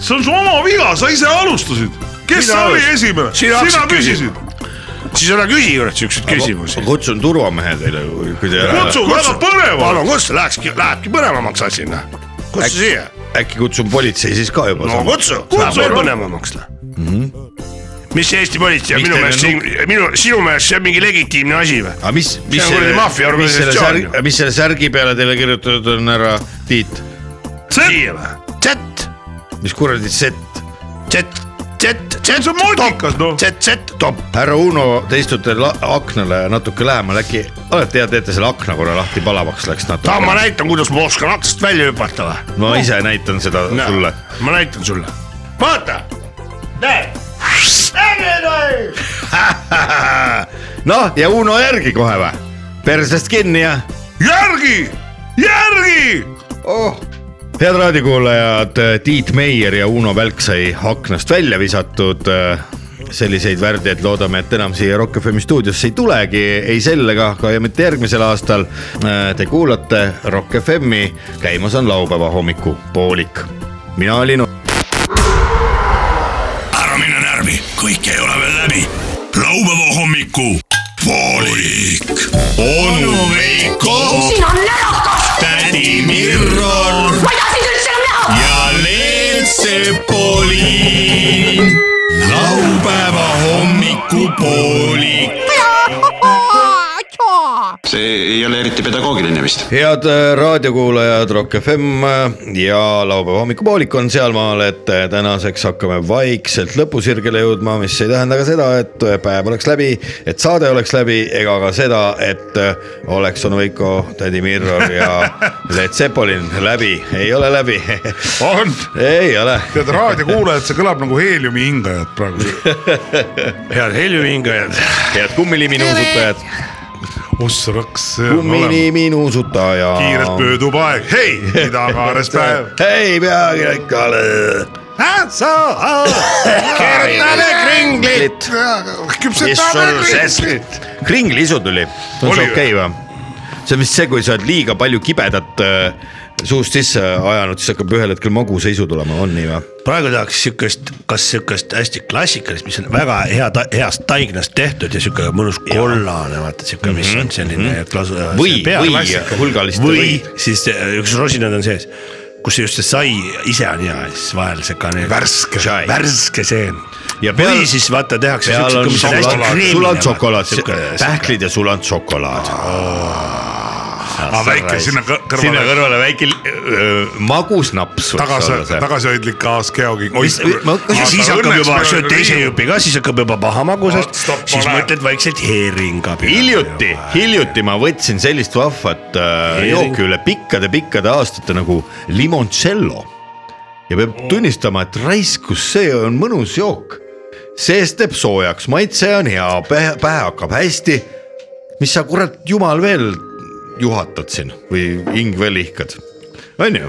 S7: see on su oma viga , sa ise alustasid . kes
S10: Mina
S7: Mina oli
S10: alustasin.
S7: esimene ?
S10: Sina
S7: sina
S10: hakkasid
S7: küsisid .
S10: siis ära küsi kurat siukseid küsimusi
S4: ma . kutsun turvamehe teile , kui te .
S7: Kutsu. väga põnev.
S10: palun kutsu , lähekski , lähebki põnevamaks asi , noh . kutsu siia .
S4: äkki kutsun politsei siis ka juba
S10: no . kutsu .
S7: Kutsu,
S10: veel
S7: palun.
S10: põnevamaks , noh . mis see Eesti politsei on
S4: Miks
S10: minu
S4: teil on
S10: meelest siin , minu , sinu meelest see on mingi legitiimne asi või ?
S4: aga mis , mis
S10: on kuradi maffiaorganisatsioon ju.
S4: särgi , mis selle särgi peale teile kirjutatud on , härra Tiit ?
S10: siia või ? Z ,
S4: mis kuradi sett ?
S10: Z , Z , Z .
S7: see on modikas , noh .
S10: Z , Z , top .
S4: härra Uno , te istute la- aknale natuke lähemal , äkki olete hea , teete selle akna korra lahti , palavaks läks
S10: tahan ma
S4: natuke .
S10: näitan , kuidas ma oskan aknast välja hüpata või ?
S4: ma ise näitan seda sulle .
S10: ma näitan sulle . vaata . näe .
S4: noh , ja Uno järgi kohe või ? persest kinni ja
S7: järgi , järgi .
S4: head raadiokuulajad , Tiit Meier ja Uno Välk sai aknast välja visatud . selliseid värdjaid loodame , et enam siia Rock FM stuudiosse ei tulegi , ei sel ega ka ja mitte järgmisel aastal . Te kuulate Rock FM-i , käimas on laupäeva hommikupoolik . mina olin
S1: ära mine närvi , kõik ei ole veel läbi . laupäeva hommiku poolik . onu Veiko ,
S2: sina närakas ,
S1: tädi Mirro
S2: ma ei taha sind üldse enam näha .
S1: ja Leelsepolin . laupäeva hommikupoolik .
S3: see ei ole eriti pedagoogiline vist .
S4: head äh, raadiokuulajad , Rock FM äh, ja laupäeva hommikupoolik on sealmaal , et äh, tänaseks hakkame vaikselt lõpusirgele jõudma , mis ei tähenda ka seda , et äh, päev oleks läbi , et saade oleks läbi , ega ka seda , et äh, oleks onu Veiko , tädi Mirror ja Led Zeppelin läbi , ei ole läbi ,
S6: on ,
S4: ei ole .
S6: tead raadiokuulajad , see kõlab nagu heeliumi hingajad praegu .
S10: head heljuhingajad .
S4: head kummiliminuusutajad ,
S6: ossa raks , see on olemas .
S4: kummiliminuusutaja .
S6: kiirelt möödub aeg , hei , idakaares päev .
S4: ei peagi ikka .
S10: keerutame kringlit .
S6: küpsetame
S4: kringli isu tuli , on see okei või ? see on vist see , kui sa oled liiga palju kibedat äh, suust sisse ajanud , siis hakkab ühel hetkel maguseisu tulema , on nii või ?
S5: praegu tahaks siukest , kas siukest hästi klassikalist , mis on väga hea , heast taignast tehtud ja siuke mõnus kollane , vaata siuke , mis on selline klas- .
S4: Mhm, Või- või hulgaliste
S5: või
S4: võid.
S5: siis äh, üks rosinad on sees , kus just see sai ise on hea ja siis vahel see kaneel .
S6: Värske
S4: sai.
S5: värske seen .
S4: Ja peal-
S5: või siis vaata tehakse
S4: peal
S5: siukseid ,
S4: on
S5: mis on hästi
S4: šokolaad ,
S5: kreemiline .
S4: suland šokolaad , pähklid ja suland šokolaad .
S6: aga väike sinna kõ-
S4: sinna
S6: kõrvale ,
S4: kõrvale väike öö, magus naps võiks
S6: tagasi
S4: olla , see .
S6: tagasihoidlik kaaskeogi .
S4: Mis- ma-
S5: ja siis hakkab juba , sööd teise jupi ka , siis hakkab juba pahamagusest
S6: Vaat, ,
S5: siis
S6: pane.
S5: mõtled vaikselt heeringa peale .
S4: hiljuti , hiljuti ma võtsin sellist vahvat äh,
S5: Heering.
S4: jooki üle pikkade-pikkade aastate nagu limoncello . ja peab tunnistama , et raiskus , see on mõnus jook . sees teeb soojaks , maitse on hea , pähe , pähe hakkab hästi . mis sa kurat jumal veel juhatad siin või hing veel ihkad , onju .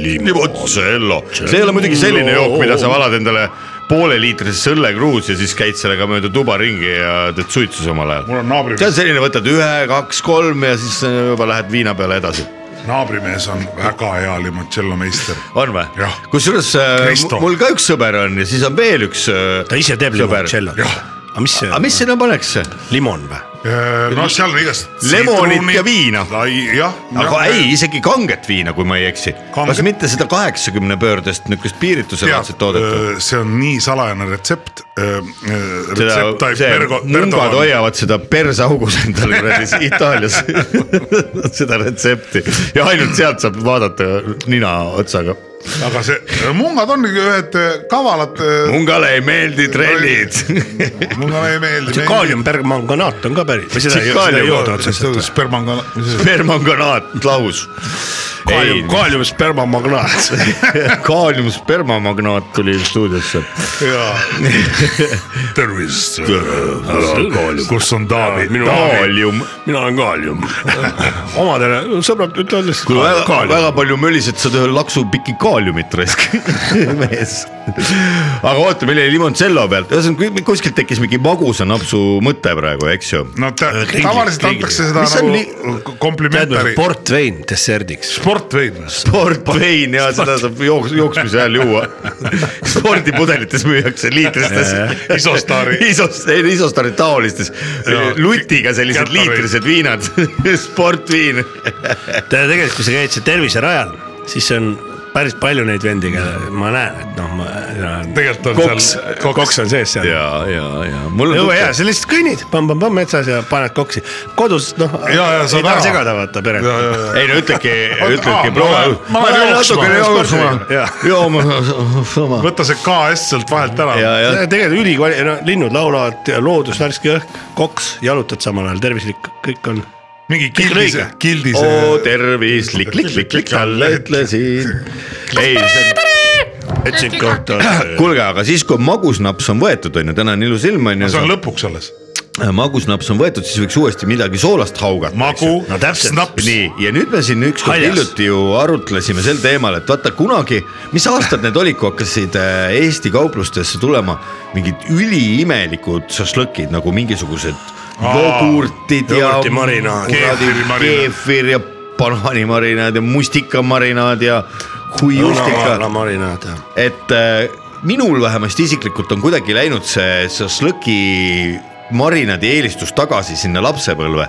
S4: limoncello , see ei ole muidugi selline jook , mida sa valad endale pooleliitrise õllekruus ja siis käid sellega mööda tuba ringi ja teed suitsu samal ajal .
S6: mul
S4: see
S6: on
S4: on
S6: naabrimees ,
S4: selline , võtad ühe , kaks , kolm ja siis äh, juba lähed viina peale edasi .
S6: naabrimees on väga hea limoncello meister .
S4: on või
S6: Jah. ?
S4: kusjuures äh,
S6: Kristo.
S4: mu- mul ka üks sõber on ja siis on veel üks äh,
S5: ta ise teeb
S4: sõber .
S5: limoncello . aga mis see
S4: aga mis sinna paneks ?
S5: limon või ?
S6: noh , seal on igast .
S4: Lemonit ja viina.
S6: jah .
S4: aga ei , isegi kanget viina , kui ma ei eksi .
S6: Kanget-
S4: kas mitte seda kaheksakümne pöördest niisugust piirituselaadset toodet ?
S6: Äh, see on nii salajane retsept . äh,
S4: seda , see , nõngad hoiavad seda persaugus endal kuradi si- Itaalias seda retsepti ja ainult sealt saab vaadata nina otsaga .
S6: aga see , mungad on ühed eh, kavalad .
S4: mungale ei meeldi trellid .
S6: mungale ei meeldi .
S5: kaaliumbergmanganaat on ka päris , või seda ei
S4: Tsikaalium-
S5: seda ei jooda otseselt .
S6: spermanga , mis see
S4: spermanganaat lahus .
S5: kaalium , kaaliumspermamagnaat .
S4: kaalium spermamagnaat tuli stuudiosse .
S6: tervist . kus on Taavi ?
S4: kaalium .
S5: mina olen kaalium . omadele sõbrad ütlevad
S4: kuule väga ,
S5: lihtsalt .
S4: väga palju mölised , sa teed laksupiki kaaliumit raisk , mees . aga oota , meil oli limoncello pealt , ühesõnaga kui- kuskilt tekkis mingi magusa napsu mõte praegu , eks ju .
S6: no ta,
S5: Kringli-
S6: tavaliselt
S5: kringli.
S6: antakse seda
S4: Äh, Mis on
S6: nagu
S4: li-
S6: li... komplimentari .
S5: portvein desserdiks .
S6: sportvein .
S4: sportvein ja seda saab jooks- , jooksmise ajal juua . spordipudelites müüakse liitristes .
S6: Isostari.
S4: Isos- , ei Isostari taolistes , lutiga sellised
S6: Kätareid.
S4: liitrised viinad , sportviin .
S5: tegelikult , kui sa käid seal terviserajal , siis on päris palju neid vendi , keda ma näen , et noh , ma .
S6: tegelikult on
S5: koks
S6: seal ,
S5: koks on sees seal .
S4: ja , ja , ja mul on
S5: jõua hea , sa lihtsalt kõnnid pamm-pamm-pamm metsas ja paned koksi , kodus noh .
S6: Ja, ja, saad
S5: ei taha
S6: ära.
S5: segada vaata peret .
S4: ei no ütlegi , ütlegi
S6: aa, ma lähen- ma lähen jooksma,
S5: Jaa.
S4: jooma sama .
S6: võta see KS sealt vahelt ära .
S4: ja , ja
S5: tegelikult ülikvali- , no linnud laulavad , loodus , värske õhk , koks , jalutad samal ajal , tervislik , kõik on .
S6: mingi kildise
S5: õige. ,
S6: kildise
S4: oo . tervis , klikk , klikk , klikk , klikk talle ütlesin . ei ,
S5: ütlesin kohta .
S4: kuulge , aga siis , kui magusnaps on võetud , on ju , täna on ilus ilm , on
S6: see on
S4: ju ,
S6: lõpuks alles .
S4: Äh, magusnaps on võetud , siis võiks uuesti midagi soolast haugata .
S6: magu
S5: No täpselt. ,
S6: snaps ,
S4: nii , ja nüüd me siin ükskord
S5: Haljas.
S4: hiljuti ju arutlesime sel teemal , et vaata kunagi , mis aastad need olid , kui hakkasid äh, Eesti kauplustesse tulema mingid üliimelikud šašlõkid nagu mingisugused jogurtid ja
S5: jogurtimarinaad.
S4: kuradi
S6: Keefirimarinaad.
S4: keefir ja banaanimarinaad ja mustikamarinaad ja
S5: juustika
S4: huiustika ,
S5: marinaad ja .
S4: et äh, minul vähemasti isiklikult on kuidagi läinud see šašlõki marinaadi eelistus tagasi sinna lapsepõlve ,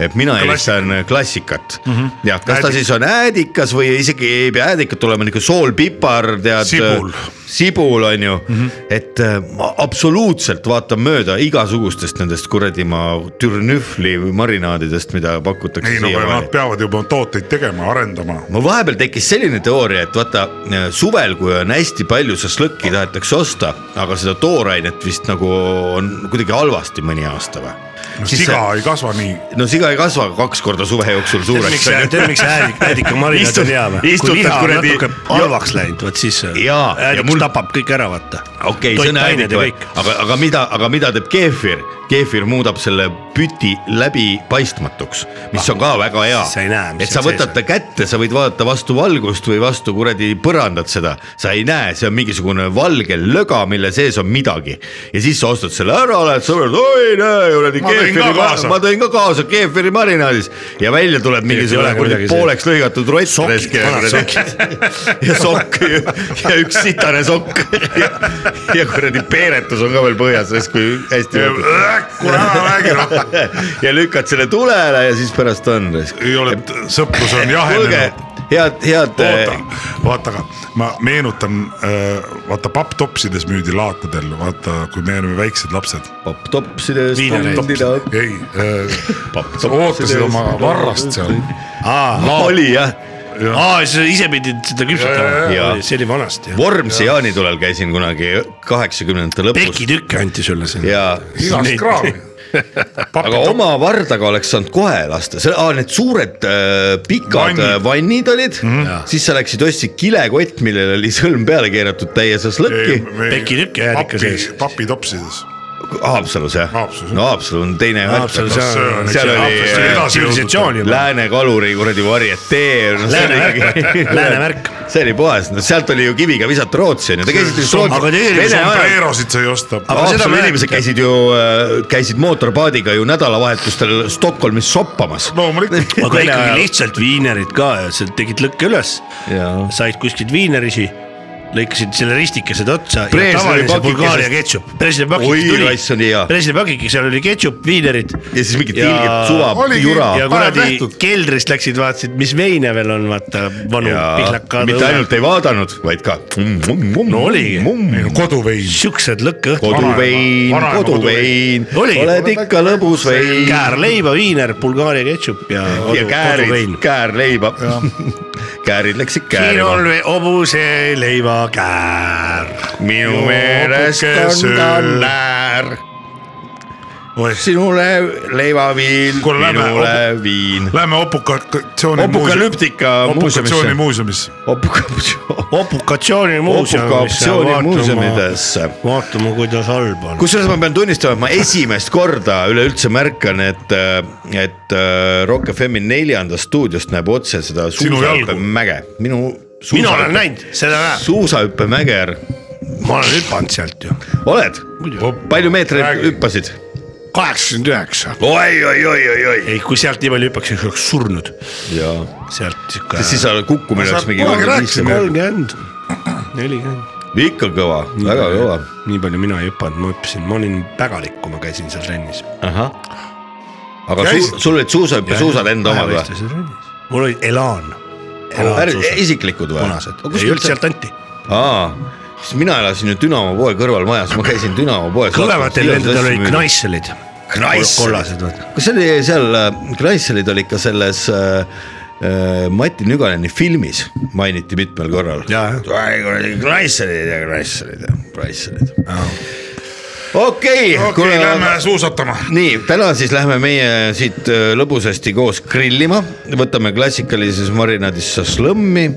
S4: et mina eelistan klassikat mm .
S6: Mhm.
S4: -hmm. ja kas ta
S6: Äädik-
S4: siis on äädikas või isegi ei pea äädikat olema , niisugune soolpipar , tead .
S6: Sibul. Mhm.
S4: sibul on ju mm , -hmm. et äh, ma absoluutselt vaatan mööda igasugustest nendest kuradi ma türnüfli marinaadidest , mida pakutakse
S6: ei no aga nad peavad juba tooteid tegema , arendama .
S4: mul vahepeal tekkis selline teooria , et vaata äh, suvel , kui on hästi palju šašlõkki tahetakse osta , aga seda toorainet vist nagu on kuidagi halvasti mõni aasta või ?
S6: siga ei kasva nii .
S4: no siga ei kasva kaks korda suve jooksul suureks .
S5: tead , miks äädik , äärika marinaad
S4: Istud-
S5: on hea või ?
S4: istutud
S5: kui liha on
S4: kuradi-
S5: natuke halvaks läinud , vot siis
S4: Jaa, ja
S5: äädik
S4: mul-
S5: tapab kõik ära , vaata .
S4: okei , see on äädik , aga , aga mida , aga mida teeb keefir ? keefir muudab selle püti läbipaistmatuks , mis on ka väga hea
S5: Sa ei näe, . mis
S4: et sa
S5: seal
S4: võtad
S5: sees
S4: ta kätte , sa võid vaadata vastu valgust või vastu kuradi põrandat seda , sa ei näe , see on mingisugune valge löga , mille sees on midagi . ja siis sa ostad selle ära , lähed sõbrad , ei näe , kuradi
S5: Ma tõin ka
S4: keefiri
S5: kaasa. ,
S4: ma tõin ka kaasa keefiri marinaadis ja välja tuleb mingisugune
S5: Tegelikult ei ole
S4: kuradi
S5: midagi sees.
S4: pooleks lõigatud rott .
S5: vanad
S4: ja sokk ja üks sitane sokk ja, ja kuradi peeretus on ka veel põhjas , kui hästi .
S6: kuule ära räägi noh ,
S4: ja lükkad selle tule ära ja siis pärast on .
S6: ei ole , sõprus on
S4: kuulge
S6: jahenenud .,
S4: head , head äh,
S6: oota , vaata aga ma meenutan , vaata papptopsides müüdi laatadel , vaata , kui me olime väiksed lapsed .
S4: poptopsides .
S6: ei , sa ootasid oma varrast seal .
S4: oli jah ,
S5: aa , sa ise pidid seda
S4: Jaa.
S5: küpsetama , see oli vanasti .
S4: Vormsi jaanitulel käisin kunagi kaheksakümnendate lõpus
S5: pekitükke anti sulle sinna .
S4: ja
S6: igast kraavi .
S4: aga oma vardaga oleks saanud kohe lasta , need suured äh, pikad
S6: Vannid. Mhm.
S4: äh, vannid olid mm , -hmm. siis sa läksid ostsid kilekott , millel oli sõlm peale keeratud täies osas lõkki .
S5: pekitükk jääd ikka sees. .
S6: papitopsides .
S4: Haapsalus jah
S6: Haapsalus. ?
S4: no Haapsalu on teine .
S5: Haapsalus, jah.
S4: seal oli äh,
S5: tsivilisatsioon juba .
S4: Lääne kaluri kuradi varietee no, .
S5: Lääne Ah, värk , Lääne värk .
S4: see oli puhas , no sealt oli ju kiviga visata Rootsi onju , te käisite siis Rootsi .
S5: Aga tegelikult
S4: Vene ajal
S6: Preerosid sa ei osta .
S4: aga
S5: seda
S4: seda
S5: ma
S4: inimesed
S5: mäletan.
S4: käisid ju , käisid mootorpaadiga ju nädalavahetustel Stockholmis soppamas .
S6: loomulikult .
S5: aga ikkagi lihtsalt viinerid ka ja sa tegid lõkke üles ,
S4: Jaa.
S5: said kuskilt viinerisi , lõikasid selle ristikesed otsa .
S4: Brežnevi pakikesest-
S5: Bulgaaria ketšup , Brežnevi
S4: Oi,
S5: pakike
S4: raisk, see oli hea.
S5: Brežnevi pakike , seal oli ketšup , viinerid .
S4: ja siis mingid ilged suva
S6: Oligi.
S4: jura
S5: ja
S6: parem
S5: kuradi
S6: tehtud.
S5: keldrist läksid , vaatasid , mis veine veel on , vaata vanu
S4: ja
S5: pihlakaad .
S4: mitte ainult ei vaadanud , vaid ka . Mm, no
S5: oligi.
S6: koduvein .
S5: siuksed lõkkeõhtud .
S4: mm, koduvein ,
S6: Vanaema
S4: koduvein ,
S5: Oligi.
S4: oled ikka lõbus vein .
S5: käärleiba , viiner , Bulgaaria ketšup ja
S4: ja
S5: kodu ,
S4: käärid
S5: koduvein ,.
S4: käärleiba . käärid läksid
S5: siin
S4: käärima
S5: on . ve- hobuse leivakäär .
S4: minu meelest on ta
S6: sööb.
S4: näär . sinule leivaviin ,
S6: Kuule, lähme
S4: minule viin .
S6: Lähme opukatsiooni
S4: opukalüptika
S6: muuseumisse .
S4: muuseumisse .
S6: muuseumis .
S4: opukatsioon .
S5: okupatsioonimuuseum .
S4: Okupatsioonimuuseumidesse.
S5: vaatame , kuidas halb on .
S4: kusjuures ma pean tunnistama , et ma esimest korda üleüldse märkan , et , et äh, Rock FM-i neljandast stuudiost näeb otse seda
S6: Sinu jalgu.
S4: suusahüppemäge , minu .
S5: mina olen näinud , seda näeb ,
S4: suusahüppemäger ,
S5: ma olen hüpanud sealt ju .
S4: oled ? palju meetreid hüppasid ?
S5: kaheksakümmend üheksa .
S10: oi , oi , oi , oi , oi .
S5: ei , kui sealt nii palju hüppaks , siis oleks surnud .
S4: jaa .
S5: sealt sihuke .
S4: siis sa kukkumine oleks mingi kolmkümmend ,
S5: kolmkümmend , nelikümmend .
S4: ikka kõva , väga kõva .
S5: nii palju mina ei hüpanud , ma hüppasin , ma olin pägalik , kui ma käisin seal trennis .
S4: ahah . aga
S6: Käisid?
S4: su, sul olid suusahüppesuusad enda omad või ?
S5: mul olid Elan .
S4: isiklikud või ?
S5: punased , ei olnud , sealt anti .
S4: aa , sest mina elasin ju Dünamo poe kõrval majas , ma käisin Dünamo poes .
S5: kõvematel vendadel olid . Kneisselid . kollased , vaata .
S4: kas see oli seal , Kneisselid olid ka selles äh, äh, Mati Nüganeni filmis mainiti mitmel korral .
S5: jaa , jah .
S4: Kneisselid ja Kneisselid ja Kneisselid . okei ,
S6: okei , lähme suusatama .
S4: nii täna siis lähme meie siit äh, lõbusasti koos grillima , võtame klassikalises marinaadis šašlõmmi ,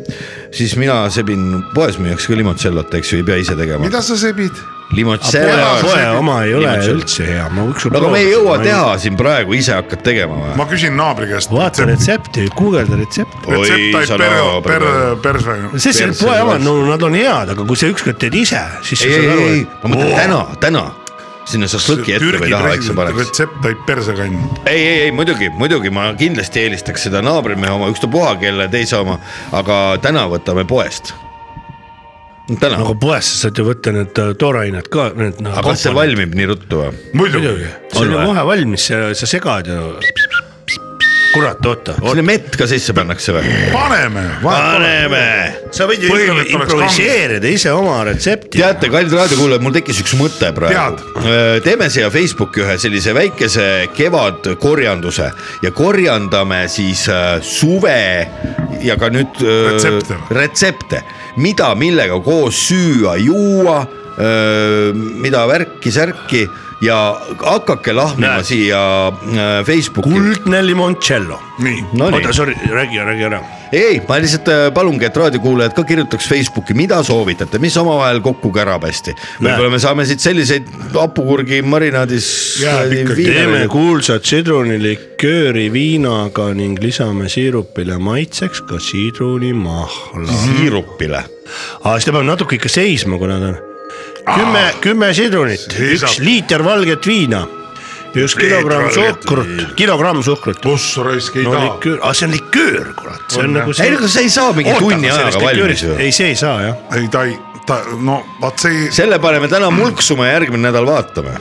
S4: siis mina sebin , poes müüakse ka limotsellot , eks ju , ei pea ise tegema .
S6: mida sa sebid ?
S4: limoncello .
S5: poe oma ei ole
S4: Niimoodi.
S5: üldse hea , ma võiks .
S4: no aga me ei jõua teha siin praegu , ise hakkad tegema või ?
S6: ma küsin naabri käest .
S5: vaata . retsepti , guugelda retsepti .
S4: Oi,
S6: retseptaid
S4: sa
S6: per
S4: naaber. ,
S6: per , perse .
S5: sest seal
S4: perse
S5: poe omad ,
S4: juures.
S5: no nad on head , aga kui sa ükskord teed ise , siis
S4: ei ,
S5: sa
S4: ei ,
S5: saad aru
S4: ei , ma mõtlen
S5: et .
S4: täna , täna sinna šašlõki ette või taha , eks sa paneks .
S6: retseptaid persekann .
S4: ei , ei , ei muidugi , muidugi ma kindlasti eelistaks seda naabrimehe oma , ükstapuha kelle teise oma , aga täna võtame poest . täna ,
S5: aga nagu poes sa saad ju võtta need äh, toorained ka , need .
S4: aga kas see ? valmib nii ruttu või ?
S6: muidugi .
S5: see on ju
S4: või?
S5: kohe valmis , sa segad ja . kurat , oota .
S4: sinna mett ka sisse pannakse või ?
S6: paneme .
S4: paneme .
S5: sa võid ju impro-
S6: Põhiline, et oleks
S5: improviseerida ise oma retsepti .
S4: teate , kallid raadiokuulajad , mul tekkis üks mõte praegu . teeme siia Facebooki ühe sellise väikese kevadkorjanduse ja korjandame siis äh, suve ja ka nüüd äh,
S6: Retsepte.
S4: retsepte , mida , millega koos süüa , juua , mida värki-särki ja hakake lahmima
S5: Näed.
S4: siia äh, Facebooki .
S5: kuldne limoncello .
S6: nii .
S5: oota , sorry , räägi , räägi ära .
S4: ei , ma lihtsalt äh, palungi , et raadiokuulajad ka kirjutaks Facebooki , mida soovitate , mis omavahel kokku kärab hästi . võib-olla me saame siit selliseid äh, hapukurgi marinaadis .
S6: Jääb ikkagi.
S5: teeme kuulsat sidrunilikööri viinaga ning lisame siirupile maitseks ka sidrunimahla .
S4: siirupile .
S5: aga seda peab natuke ikka seisma , kuna ta on kümme , kümme sidrunit ,
S6: Seisab.
S5: üks liiter valget viina , just kilogramm suhkrut , kilogramm suhkrut .
S6: pluss raisk ei
S5: no
S6: taha .
S5: liköör , aga see on liköör , kurat , see on nagu
S4: ei , aga sa ei saa mingi
S5: Oota,
S4: tunni
S5: aga sellest
S4: ajaga valmis
S5: liköörist-
S4: ju .
S5: ei , see ei saa jah .
S6: ei , ta ei , ta no vaat see ei ,
S4: selle paneme täna mulksuma ja järgmine nädal vaatame .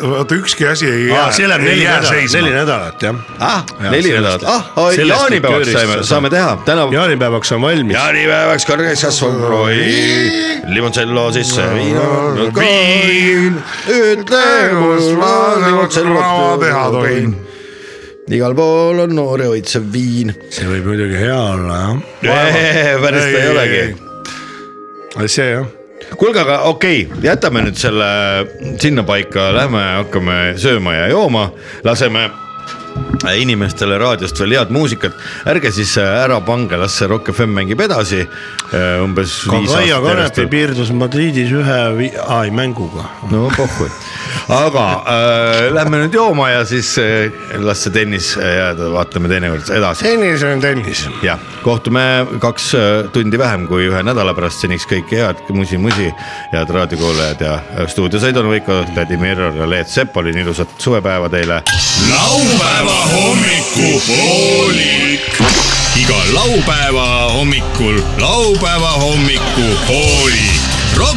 S6: vaata ükski asi ei jää
S5: Aa, . see läheb neli nädalat , neli
S6: seisma .
S5: nädalat jah .
S4: ah , neli nädalat , ah , jaanipäevaks saime , saame teha , täna
S5: jaanipäevaks on valmis .
S4: jaanipäevaks kõrgeks kasvab roi , limoncello sisse viina , viin , ütle , kus ma
S6: laua teha
S4: limoncellot
S6: tohin .
S4: igal pool on noor ja õitsev viin .
S5: see võib muidugi hea olla jah .
S4: päris ta ei olegi .
S5: see jah ,
S4: kuulge , aga okei okay, , jätame nüüd selle sinnapaika , lähme hakkame sööma ja jooma , laseme inimestele raadiost veel head muusikat , ärge siis ära pange , las see Rock FM mängib edasi . umbes viis
S5: Kaia
S4: aastat
S5: Kanepi
S4: järjest .
S5: piirdus Madridis ühe vi- , ai mänguga .
S4: no pohhu , aga äh, lähme nüüd jooma ja siis äh, las see tennis äh, jääda , vaatame teinekord edasi .
S5: tennis on tennis .
S4: jah , kohtume kaks äh, tundi vähem kui ühe nädala pärast , seniks kõike head , musi-musi , head raadiokuulajad ja äh, stuudios Aido Noviko , Vladimir ja Leet Sepolin , ilusat suvepäeva teile .
S1: laupäeva hommikupoolik . iga laupäeva hommikul laupäeva hommikupoolik . Rock